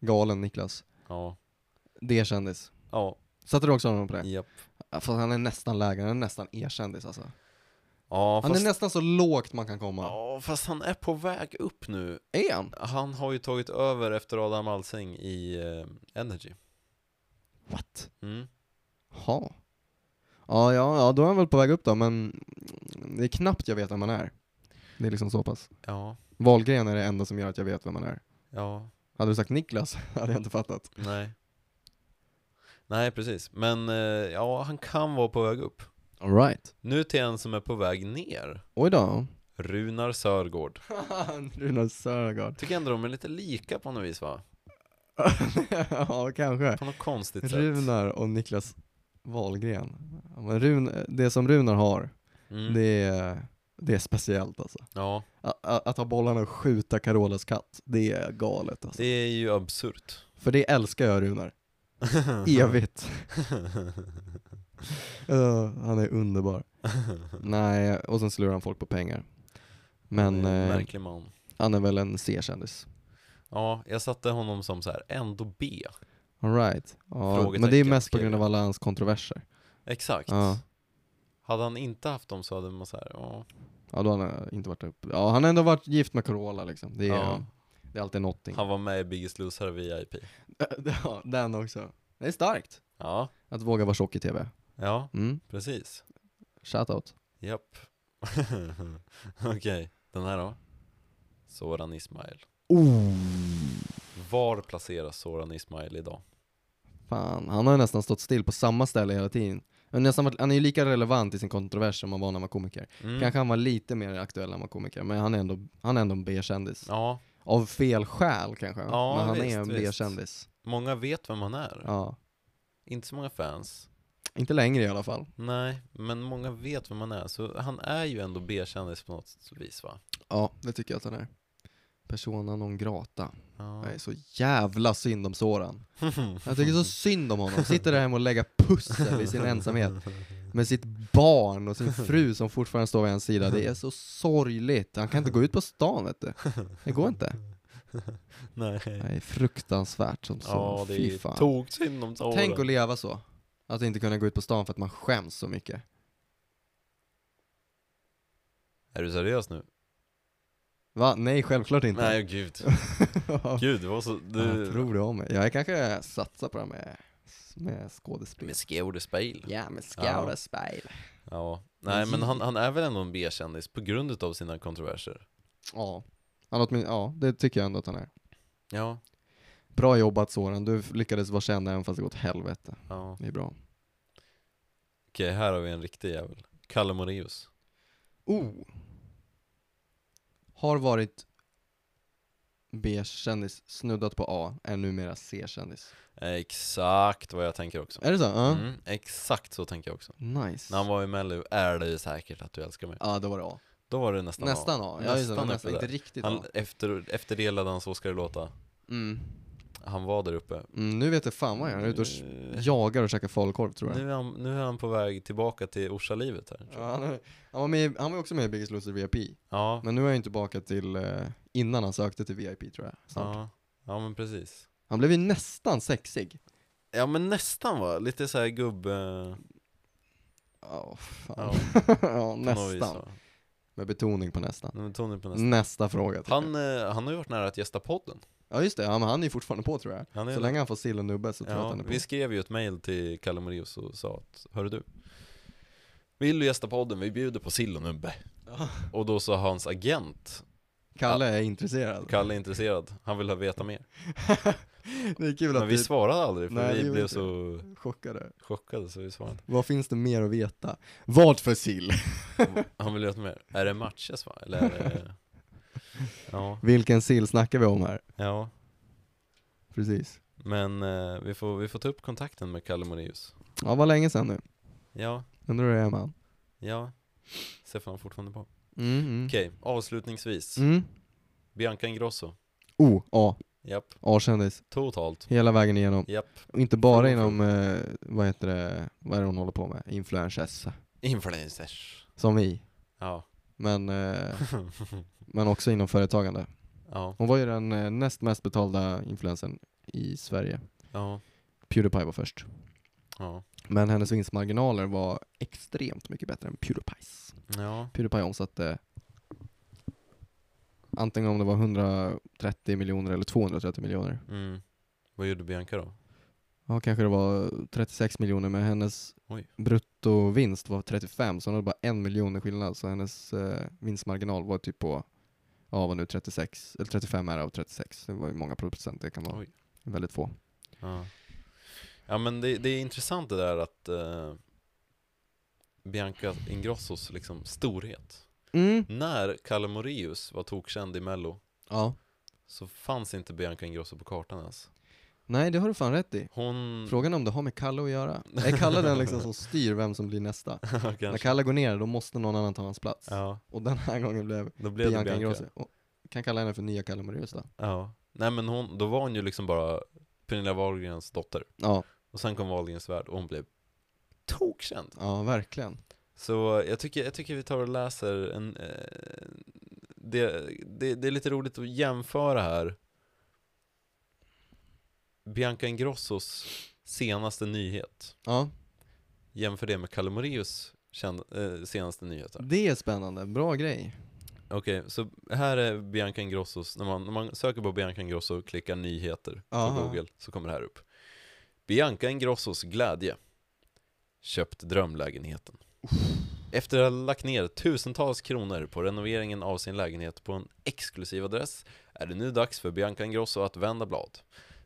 Speaker 1: Galen Niklas.
Speaker 2: ja,
Speaker 1: D-kändis.
Speaker 2: ja,
Speaker 1: Satte du också honom på det?
Speaker 2: japp.
Speaker 1: Ja, Fast han är nästan lägre, han är nästan E-kändis alltså.
Speaker 2: Ja,
Speaker 1: Han
Speaker 2: fast,
Speaker 1: är nästan så lågt man kan komma.
Speaker 2: ja, fast han är på väg upp nu.
Speaker 1: Är han?
Speaker 2: Han har ju tagit över efter Adam Alsing i eh, Energy.
Speaker 1: What?
Speaker 2: Mm.
Speaker 1: Ha. Ja, ja, ja, då är han väl på väg upp då, men det är knappt jag vet vem han är. Det är liksom så pass.
Speaker 2: Ja,
Speaker 1: Wahlgren är det enda som gör att jag vet vem han är.
Speaker 2: ja,
Speaker 1: Hade du sagt Niklas hade jag inte fattat.
Speaker 2: nej. Nej, precis. Men eh, ja, han kan vara på väg upp.
Speaker 1: Alright.
Speaker 2: Nu till en som är på väg ner.
Speaker 1: Oj då.
Speaker 2: Runar Sörgård.
Speaker 1: Runar Sörgård.
Speaker 2: Tycker ändå de är lite lika på något vis va?
Speaker 1: ja, kanske.
Speaker 2: På något konstigt sätt.
Speaker 1: Runar och Niklas Wahlgren. Ja, Men Run, det som Runar har,
Speaker 2: Mm.
Speaker 1: det är Det är speciellt alltså.
Speaker 2: Ja.
Speaker 1: Att, att, att ha bollarna och skjuta Carolas katt, det är galet alltså.
Speaker 2: Det är ju absurt.
Speaker 1: För det älskar jag Runar. Evigt. Eh, han är underbar. Nej, och sen slurar han folk på pengar. Men
Speaker 2: Det är en
Speaker 1: eh,
Speaker 2: Märklig man.
Speaker 1: han är väl en C-kändis.
Speaker 2: Ja, jag satte honom som så här, ändå B.
Speaker 1: Alright. Ja, men det är
Speaker 2: Frågetecken,
Speaker 1: mest på
Speaker 2: skrev
Speaker 1: grund av
Speaker 2: jag.
Speaker 1: alla hans kontroverser.
Speaker 2: Exakt.
Speaker 1: Ja.
Speaker 2: Hade han inte haft dem så hade man så här, ja.
Speaker 1: Ja, då har han eh, inte varit uppe. Ja, han har ändå varit gift med Carola liksom. Det är,
Speaker 2: Ja.
Speaker 1: det är alltid någonting.
Speaker 2: Han var med i Biggest Loser VIP.
Speaker 1: ja, den också. Det är starkt.
Speaker 2: Ja,
Speaker 1: Att våga vara tjock i TV.
Speaker 2: ja,
Speaker 1: Mm,
Speaker 2: precis.
Speaker 1: shoutout.
Speaker 2: Japp. Okej, den här då? Soran Ismail.
Speaker 1: Oh.
Speaker 2: Var placeras Soran Ismail idag?
Speaker 1: Fan, han har ju nästan stått still på samma ställe hela tiden. Han, har nästan varit, han är ju lika relevant i sin kontrovers som han var när han var komiker.
Speaker 2: Mm.
Speaker 1: Kanske han var lite mer aktuell när han var komiker, men han är ändå, han är ändå en B-kändis.
Speaker 2: Ja,
Speaker 1: Av fel skäl kanske,
Speaker 2: Ja,
Speaker 1: men han
Speaker 2: visst,
Speaker 1: är en
Speaker 2: visst.
Speaker 1: B-kändis.
Speaker 2: många vet vem han är.
Speaker 1: Ja.
Speaker 2: Inte så många fans.
Speaker 1: Inte längre i alla fall.
Speaker 2: Nej, men många vet vem han är. Så han är ju ändå B-kändis på något vis va?
Speaker 1: Ja, det tycker jag att han är. Persona non grata.
Speaker 2: Ja.
Speaker 1: Jag är så jävla synd om Soran. Jag tycker så synd om honom. Sitter där hemma och lägger pussel i sin ensamhet med sitt barn och sin fru som fortfarande står vid hans sida. Det är så sorgligt. Han kan inte gå ut på stan vet du. Det går inte.
Speaker 2: Nej.
Speaker 1: Det är fruktansvärt som så.
Speaker 2: Ja, det
Speaker 1: Fy
Speaker 2: är
Speaker 1: fan.
Speaker 2: tog synd om Soran.
Speaker 1: Tänk att leva så. Att inte kunna gå ut på stan för att man skäms så mycket.
Speaker 2: Är du seriös nu?
Speaker 1: Va? Nej, självklart inte.
Speaker 2: Nej, oh, gud. Gud, det var så...
Speaker 1: Vad
Speaker 2: Du...
Speaker 1: tror du om mig? Jag kanske satsar på det här med, med skådespel.
Speaker 2: Med skådespel.
Speaker 1: Ja, med
Speaker 2: skådespel. Ja. Nej, men han, han är väl ändå en B-kändis på grund utav sina kontroverser.
Speaker 1: Ja. Han åtmin- ja, det tycker jag ändå att han är.
Speaker 2: Ja.
Speaker 1: Bra jobbat Soran, du lyckades vara känd även fast det gått åt helvete.
Speaker 2: ja.
Speaker 1: Det är bra.
Speaker 2: Okej, här har vi en riktig jävel. Kalle Moraeus.
Speaker 1: Oh! Har varit B-kändis, snuddat på A, är numera C-kändis.
Speaker 2: Exakt vad jag tänker också.
Speaker 1: Är det så? Ja.
Speaker 2: Mm, exakt så tänker jag också.
Speaker 1: Nice.
Speaker 2: När han var i Mello, är det ju säkert att du älskar mig?
Speaker 1: Ja, då var det A.
Speaker 2: Då var det nästan
Speaker 1: Nästan A. Ja, just det,
Speaker 2: Nästan
Speaker 1: men
Speaker 2: efter
Speaker 1: nästan, inte
Speaker 2: det.
Speaker 1: riktigt A.
Speaker 2: Han, efter, efterdelade han Så ska det låta.
Speaker 1: Mm.
Speaker 2: Han var där uppe.
Speaker 1: Mm, nu vet jag fan vad jag gör. Jag är ute och
Speaker 2: Eh,
Speaker 1: jagar och käkar falukorv tror jag.
Speaker 2: Nu är, han, nu är han på väg tillbaka till Orsa-livet här. tror
Speaker 1: Ja,
Speaker 2: jag.
Speaker 1: han, är- han, var med, han var också med i Biggest Loser VIP.
Speaker 2: Ja,
Speaker 1: Men nu är han ju tillbaka till eh, innan han sökte till VIP tror jag. Snart.
Speaker 2: ja, ja men precis.
Speaker 1: Han blev ju nästan sexig.
Speaker 2: Ja men nästan va, lite såhär gubb... eh,
Speaker 1: Ja,
Speaker 2: Ja,
Speaker 1: fan.
Speaker 2: på
Speaker 1: Ja,
Speaker 2: något vis,
Speaker 1: nästan.
Speaker 2: va.
Speaker 1: Med betoning på nästan.
Speaker 2: Nej, men Tony på nästan.
Speaker 1: Nästa fråga. tycker jag.
Speaker 2: Han, eh, han har ju varit nära att gästa podden.
Speaker 1: Ja just det, ja, men han är ju fortfarande på tror jag.
Speaker 2: Han är
Speaker 1: Så länge han får sill och nubbe så tror jag att
Speaker 2: Ja,
Speaker 1: han är på.
Speaker 2: vi skrev ju ett mail till Kalle Moraeus och sa att Hörru du Vill du gästa podden? Vi bjuder på sill och nubbe
Speaker 1: Ja.
Speaker 2: Och då sa hans agent
Speaker 1: Kalle är intresserad.
Speaker 2: Kalle är intresserad, han vill ha veta mer
Speaker 1: det är kul
Speaker 2: Men
Speaker 1: att
Speaker 2: vi
Speaker 1: vi
Speaker 2: svarade aldrig för
Speaker 1: Nej, vi
Speaker 2: vi
Speaker 1: gjorde
Speaker 2: blev
Speaker 1: inte
Speaker 2: så
Speaker 1: är chockade.
Speaker 2: chockade så vi svarade inte
Speaker 1: Vad finns det mer att veta? Vad för sill?
Speaker 2: Han vill veta mer Är det matches va? Eller är det... Ja,
Speaker 1: Vilken sill snackar vi om här?
Speaker 2: ja
Speaker 1: Precis.
Speaker 2: Men eh, vi, får, vi får ta upp kontakten med Kalle Moraeus
Speaker 1: Ja, var länge sedan nu.
Speaker 2: Ja,
Speaker 1: Undrar hur det är med han.
Speaker 2: ja Ser fan fortfarande på
Speaker 1: Mm, mm.
Speaker 2: Okej, avslutningsvis
Speaker 1: Mm.
Speaker 2: Bianca Ingrosso
Speaker 1: Oh, A.
Speaker 2: Japp,
Speaker 1: A-kändis.
Speaker 2: totalt
Speaker 1: Hela vägen igenom.
Speaker 2: Japp
Speaker 1: Och inte bara
Speaker 2: Från-
Speaker 1: inom, eh, vad heter det, vad är det hon håller på med? Influencers.
Speaker 2: Influencers.
Speaker 1: Som vi.
Speaker 2: Ja.
Speaker 1: Men, eh, men också inom företagande.
Speaker 2: ja.
Speaker 1: Hon var ju den eh, näst mest betalda influencern i Sverige.
Speaker 2: Ja.
Speaker 1: Pewdiepie var först.
Speaker 2: Ja.
Speaker 1: Men hennes vinstmarginaler var extremt mycket bättre än Pewdiepies.
Speaker 2: Ja.
Speaker 1: Pewdiepie omsatte antingen om det var 130 miljoner eller 230 miljoner.
Speaker 2: Mm. Vad gjorde Bianca då?
Speaker 1: Ja, kanske det var 36 miljoner, men hennes
Speaker 2: Oj.
Speaker 1: bruttovinst var 35, så hon hade bara en miljon i skillnad. Så hennes eh, vinstmarginal var typ på, ja vad nu 36, eller 35 är det av 36. Det var ju många procent, det kan vara
Speaker 2: Oj.
Speaker 1: väldigt få.
Speaker 2: Ja. Ja men det, det är intressant det där att eh, Bianca Ingrossos liksom storhet.
Speaker 1: Mm.
Speaker 2: När Kalle Moraeus var tokkänd i Mello
Speaker 1: Ja,
Speaker 2: så fanns inte Bianca Ingrosso på kartan ens.
Speaker 1: Nej, det har du fan rätt i.
Speaker 2: Hon...
Speaker 1: Frågan är om det har med Kalle att göra. Är Kalle den liksom som styr vem som blir nästa? När
Speaker 2: kanske.
Speaker 1: Kalle går ner, då måste någon annan ta hans plats.
Speaker 2: Ja,
Speaker 1: Och den här gången blev
Speaker 2: då blev
Speaker 1: Bianca
Speaker 2: det Bianca.
Speaker 1: Ingrosso. Och Kan kalla henne för nya Kalle Moraeus då.
Speaker 2: Ja. Nej men hon, då var hon ju liksom bara Pernilla Wahlgrens dotter.
Speaker 1: Ja,
Speaker 2: Och sen kom Wahlgrens värld och hon blev tokkänd.
Speaker 1: ja verkligen.
Speaker 2: Så jag tycker, jag tycker vi tar och läser en, eh, det, det, det är lite roligt att jämföra här Bianca Ingrossos senaste nyhet
Speaker 1: Ja,
Speaker 2: Jämför det med Kalle Moraeus känd- eh, senaste nyheter
Speaker 1: det är spännande. Bra grej.
Speaker 2: Okej, så här är Bianca Ingrossos, när man, när man söker på Bianca Ingrosso och klickar nyheter på
Speaker 1: Aha.
Speaker 2: Google så kommer det här upp Bianca Ingrossos glädje Köpt drömlägenheten Efter att ha lagt ner tusentals kronor på renoveringen av sin lägenhet på en exklusiv adress är det nu dags för Bianca Ingrosso att vända blad.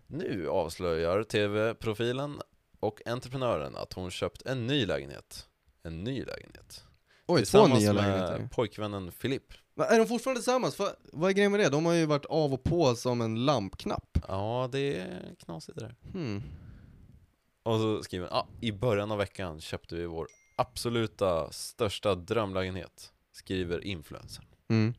Speaker 2: Nu avslöjar TV-profilen och entreprenören att hon köpt en ny lägenhet. En ny lägenhet.
Speaker 1: Oj, två
Speaker 2: Tillsammans
Speaker 1: nya
Speaker 2: med
Speaker 1: lägenheter.
Speaker 2: pojkvännen Filip.
Speaker 1: Va, Är de fortfarande tillsammans? Va, vad är grejen med det? De har ju varit av och på som en lampknapp.
Speaker 2: Ja, det är knasigt det där.
Speaker 1: Hmm.
Speaker 2: Och så skriver han, ah, i början av veckan köpte vi vår absoluta största drömlägenhet, skriver influencer.
Speaker 1: Mm.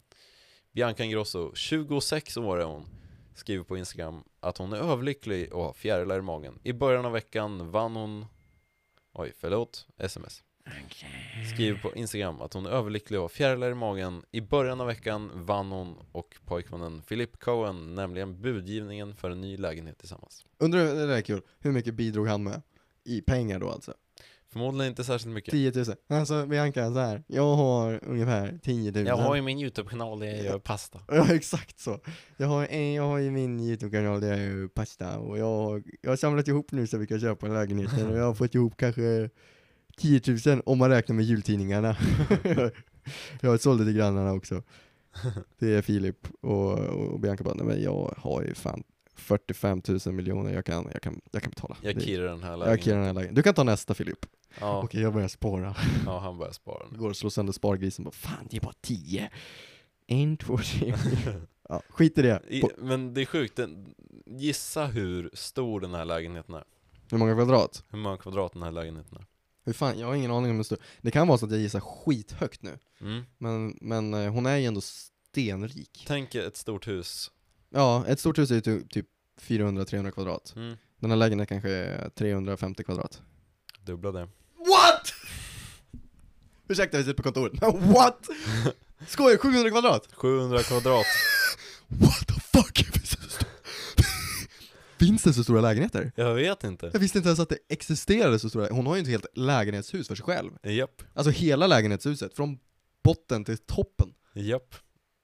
Speaker 2: Bianca Ingrosso, 26 år är hon, skriver på Instagram att hon är överlycklig och har fjärilar i magen. I början av veckan vann hon, oj förlåt, sms. Skriver på Instagram att hon är överlycklig och har fjärilar i magen. I början av veckan vann hon och pojkvännen Philip Cohen, nämligen budgivningen för en ny lägenhet tillsammans.
Speaker 1: Undrar, det där är kul. Hur mycket bidrog han med? I pengar då alltså?
Speaker 2: Förmodligen inte särskilt mycket.
Speaker 1: 10 000. Alltså Bianca, så här. Jag har ungefär 10 000.
Speaker 2: Jag har ju min YouTube-kanal där jag gör pasta.
Speaker 1: Ja, exakt så. Jag har, eh, jag har ju min YouTube-kanal där jag gör pasta och jag har, jag har samlat ihop nu så vi kan köpa en lägenhet och jag har fått ihop kanske 10 000 om man räknar med jultidningarna. jag har sålt det till grannarna också. Det är Filip och, och Bianca bara, "Nej, men jag har ju fan 45 000 miljoner, jag kan, jag kan, jag kan betala.
Speaker 2: Jag
Speaker 1: Det-
Speaker 2: kirrar den här
Speaker 1: jag kirrar
Speaker 2: lägenheten.
Speaker 1: den här lägenheten. Du kan ta nästa Filip.
Speaker 2: Ja,
Speaker 1: Okej, jag börjar spara.
Speaker 2: ja, han börjar spara nu.
Speaker 1: Går och slår sönder spargrisen bara, fan det är bara 10. En, två, tre, fyra. Ja, skit i det.
Speaker 2: I,
Speaker 1: På-
Speaker 2: men det är sjukt, den, gissa hur stor den här lägenheten är
Speaker 1: Hur många kvadrat?
Speaker 2: Hur många kvadrat den här lägenheten är
Speaker 1: Hur fan, jag har ingen aning om hur stor. Det kan vara så att jag gissar skithögt nu.
Speaker 2: mm.
Speaker 1: Men, men eh, hon är ju ändå stenrik.
Speaker 2: Tänk er ett stort hus
Speaker 1: Ja, ett stort hus är ju ty- typ 400-300 kvadrat.
Speaker 2: mm.
Speaker 1: Den här lägenheten kanske är 350 kvadrat.
Speaker 2: Dubbla det
Speaker 1: What? Ursäkta, vi sitter på kontoret. Men what? Skojar 700 kvadrat?
Speaker 2: 700 kvadrat
Speaker 1: What the fuck? Finns det så, stor... Finns det så stora lägenheter?
Speaker 2: Jag vet inte
Speaker 1: Jag visste inte ens att det existerade så stora. Hon har ju inte helt lägenhetshus för sig själv.
Speaker 2: Japp,
Speaker 1: Alltså hela lägenhetshuset, från botten till toppen.
Speaker 2: japp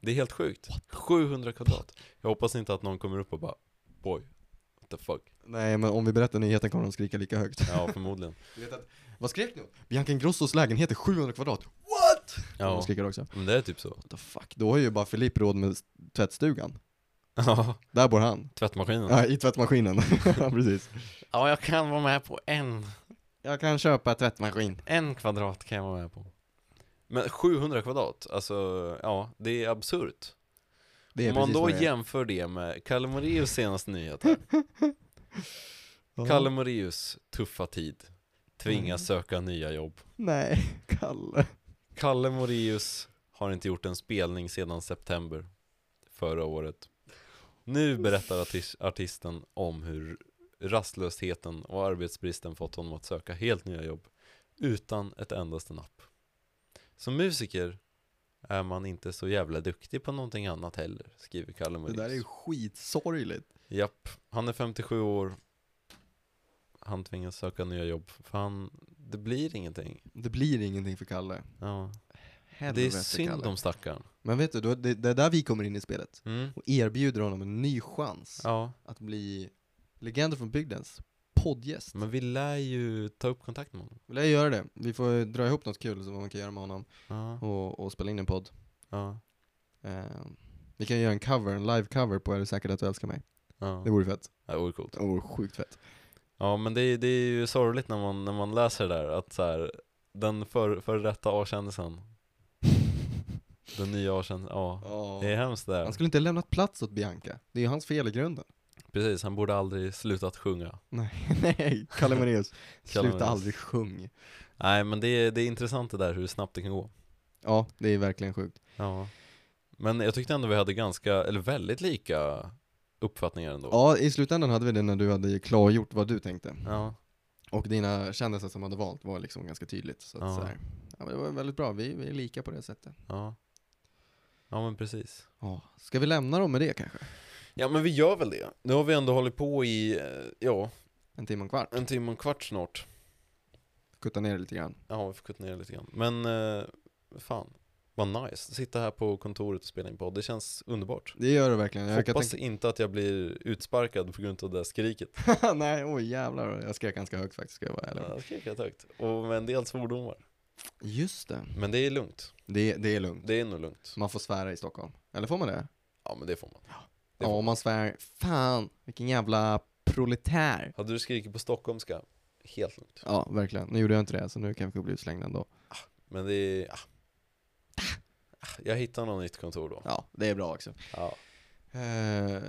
Speaker 2: Det är helt sjukt 700 kvadrat Jag hoppas inte att någon kommer upp och bara Boy, what the fuck
Speaker 1: Nej men om vi berättar nyheten kommer de skrika lika högt.
Speaker 2: Ja, förmodligen
Speaker 1: Vad skrek ni om? Bianca Ingrossos lägenhet är 700 kvadrat. What? De
Speaker 2: Ja,
Speaker 1: skriker också. What
Speaker 2: men det är typ så
Speaker 1: the fuck? Då har ju bara Filip råd med s- tvättstugan.
Speaker 2: Ja,
Speaker 1: Där bor han.
Speaker 2: tvättmaskinen
Speaker 1: Ja, i tvättmaskinen. Ja, precis.
Speaker 2: Ja, jag kan vara med på en
Speaker 1: Jag kan köpa tvättmaskin.
Speaker 2: En kvadrat kan jag vara med på Men 700 kvadrat, alltså ja, det är absurt
Speaker 1: Det är
Speaker 2: Om man
Speaker 1: precis
Speaker 2: då
Speaker 1: vad det är.
Speaker 2: jämför det med Kalle Moraeus senaste nyheter
Speaker 1: Ja. Mm.
Speaker 2: Kalle Moraeus tuffa tid Tvingas söka nya jobb
Speaker 1: Nej, Kalle.
Speaker 2: Kalle Moraeus har inte gjort en spelning sedan september förra året Nu berättar artis- artisten om hur rastlösheten och arbetsbristen fått honom att söka helt nya jobb utan ett endaste napp Som musiker är man inte så jävla duktig på någonting annat heller, skriver Kalle
Speaker 1: Det
Speaker 2: Moraeus
Speaker 1: där är ju skitsorgligt.
Speaker 2: Japp, han är 57 år Han tvingas söka nya jobb för han, det blir ingenting
Speaker 1: Det blir ingenting för Kalle.
Speaker 2: ja. Det är
Speaker 1: Helvete,
Speaker 2: synd
Speaker 1: Kalle.
Speaker 2: om stackaren
Speaker 1: Men vet du, då, det, det är där vi kommer in i spelet.
Speaker 2: mm.
Speaker 1: Och erbjuder honom en ny chans
Speaker 2: Ja,
Speaker 1: att bli legender från bygdens poddgäst.
Speaker 2: men vi lär ju ta upp kontakt med honom
Speaker 1: Vill jag göra det? Vi får eh, dra ihop något kul som man kan göra med honom
Speaker 2: Ja,
Speaker 1: och, och spela in en podd.
Speaker 2: ja,
Speaker 1: Eh, vi kan göra en cover, en live-cover på Är du säker att du älskar mig?
Speaker 2: ja
Speaker 1: Det vore fett.
Speaker 2: Det vore coolt
Speaker 1: Det vore sjukt fett.
Speaker 2: Ja men det är, det är ju sorgligt när man, när man läser det där att så här, Den för, för detta A-kändisen Den nya A-kändisen, ja
Speaker 1: Ja.
Speaker 2: Det är hemskt det
Speaker 1: Han
Speaker 2: där
Speaker 1: skulle inte ha lämnat plats åt Bianca. Det är ju hans fel i grunden.
Speaker 2: precis, han borde aldrig slutat sjunga.
Speaker 1: Nej, Kalle Moraeus.
Speaker 2: Kalle
Speaker 1: Sluta
Speaker 2: Moraeus.
Speaker 1: aldrig sjung.
Speaker 2: Nej men det är, det är intressant det där hur snabbt det kan gå.
Speaker 1: Ja, det är verkligen sjukt.
Speaker 2: Ja. Men jag tyckte ändå vi hade ganska, eller väldigt lika uppfattningar ändå.
Speaker 1: Ja, i slutändan hade vi det när du hade klargjort vad du tänkte.
Speaker 2: Ja.
Speaker 1: Och dina kändisar som hade valt var liksom ganska tydligt. Så att
Speaker 2: Ja.
Speaker 1: så här. Ja, men det var väldigt bra, vi, vi är lika på det sättet.
Speaker 2: Ja. Ja men precis.
Speaker 1: Ja. Ska vi lämna dem med det kanske?
Speaker 2: Ja men vi gör väl det. Nu har vi ändå hållit på i, eh, ja,
Speaker 1: En timme och en kvart.
Speaker 2: en timme och en kvart snart.
Speaker 1: Kutta ner det lite grann.
Speaker 2: Ja, vi får kutta ner det lite grann. Men eh, fan, vad nice. Sitta här på kontoret och spela in podd. Det känns underbart.
Speaker 1: Det gör det verkligen. Jag kan
Speaker 2: Hoppas inte att jag blir utsparkad på grund av det där skriket.
Speaker 1: tänka... Nej, oj jävlar. Jag skrek ganska högt faktiskt, ska jag vara ärlig.
Speaker 2: Jag skrikat högt. Och med en del svordomar.
Speaker 1: Just det.
Speaker 2: Men det är lugnt.
Speaker 1: det. Det är lugnt.
Speaker 2: Det är nog lugnt.
Speaker 1: Man får svära i Stockholm. Eller får man det?
Speaker 2: Ja, men det får man. Det
Speaker 1: Ja,
Speaker 2: får
Speaker 1: om man svär, fan vilken jävla proletär.
Speaker 2: Hade du skrikit på stockholmska, helt lugnt.
Speaker 1: Ja, verkligen. Nu gjorde jag inte det, så nu kanske jag blir utslängd ändå.
Speaker 2: Men det är... Ah. Ah, Jag hittar något nytt kontor då.
Speaker 1: Ja, det är bra också.
Speaker 2: Ja.
Speaker 1: Eh,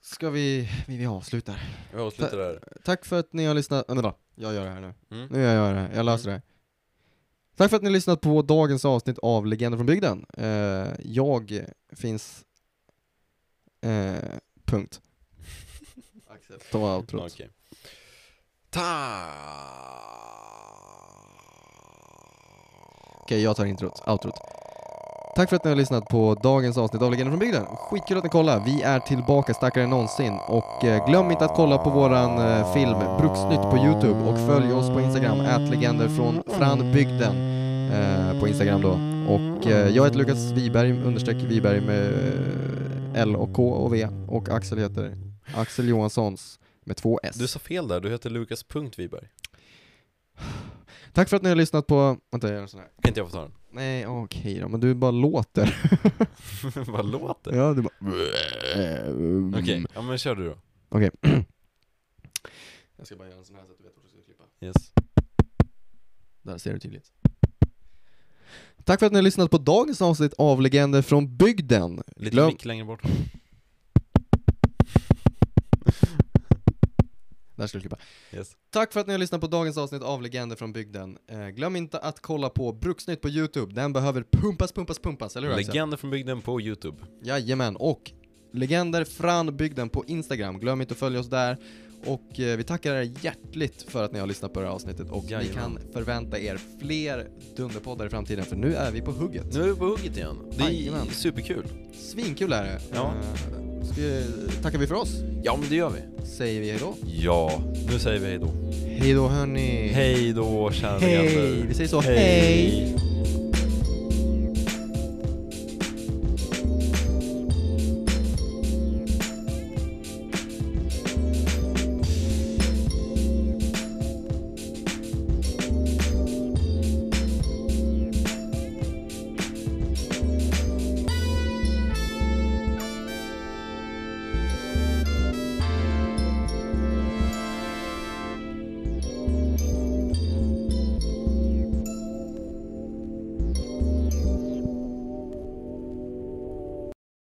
Speaker 1: ska vi, vi, vi avslutar.
Speaker 2: Vi avslutar där.
Speaker 1: Tack för att ni har lyssnat, vänta då. jag gör det här nu.
Speaker 2: Mm.
Speaker 1: Nu gör jag det, här. jag löser det. Tack för att ni har lyssnat på dagens avsnitt av Legender från bygden. Eh, jag finns... Eh, punkt. Axel. Det var outrot.
Speaker 2: Okej. Ta!
Speaker 1: Okej, jag tar introt, outrot. Tack för att ni har lyssnat på dagens avsnitt av Legender från bygden. Skitkul att ni kollar. Vi är tillbaka starkare än någonsin. Och eh, glöm inte att kolla på våran eh, film Bruksnytt på Youtube och följ oss på Instagram, @legenderfrån från, bygden eh, på Instagram då. Och eh, jag heter Lukas Wiberg, understreck Wiberg med eh, L och K och V. Och Axel heter Axel Johanssons med två S.
Speaker 2: Du sa fel där, du heter Lukas.Wiberg.
Speaker 1: Tack för att ni har lyssnat på... Vänta, jag gör en sån här.
Speaker 2: Kan inte jag få ta den?
Speaker 1: Nej, okej då, men du bara låter.
Speaker 2: Vad låter?
Speaker 1: ja, du bara...
Speaker 2: Okej, ja men kör du då.
Speaker 1: Mm. Okej. Jag ska bara göra en sån här så att du vet vart du ska klippa.
Speaker 2: Yes.
Speaker 1: Där ser du tydligt. Tack för att ni har lyssnat på dagens avsnitt av Legender från bygden.
Speaker 2: Lite
Speaker 1: Glöm-
Speaker 2: mick längre bort.
Speaker 1: Där ska du klippa.
Speaker 2: Yes.
Speaker 1: Tack för att ni har lyssnat på dagens avsnitt av Legender från bygden. Eh, glöm inte att kolla på Bruksnytt på Youtube. Den behöver pumpas, pumpas, pumpas, eller hur Axel?
Speaker 2: Legender från bygden på Youtube.
Speaker 1: Jajamän, och Legender från bygden på Instagram. Glöm inte att följa oss där. Och eh, vi tackar er hjärtligt för att ni har lyssnat på det här avsnittet och ni
Speaker 2: Jajamän.
Speaker 1: kan förvänta er fler dunderpoddar i framtiden för nu är vi på hugget.
Speaker 2: Nu är vi på hugget igen. Det är
Speaker 1: Jajamän.
Speaker 2: superkul.
Speaker 1: Svinkul är det.
Speaker 2: Ja.
Speaker 1: Eh, Ska, tackar vi för oss,
Speaker 2: Ja men det gör vi.
Speaker 1: säger vi hejdå.
Speaker 2: Ja, nu säger vi hej då.
Speaker 1: Hejdå hörni.
Speaker 2: Hej då kära
Speaker 1: Hej.
Speaker 2: legender.
Speaker 1: Vi säger så, hej.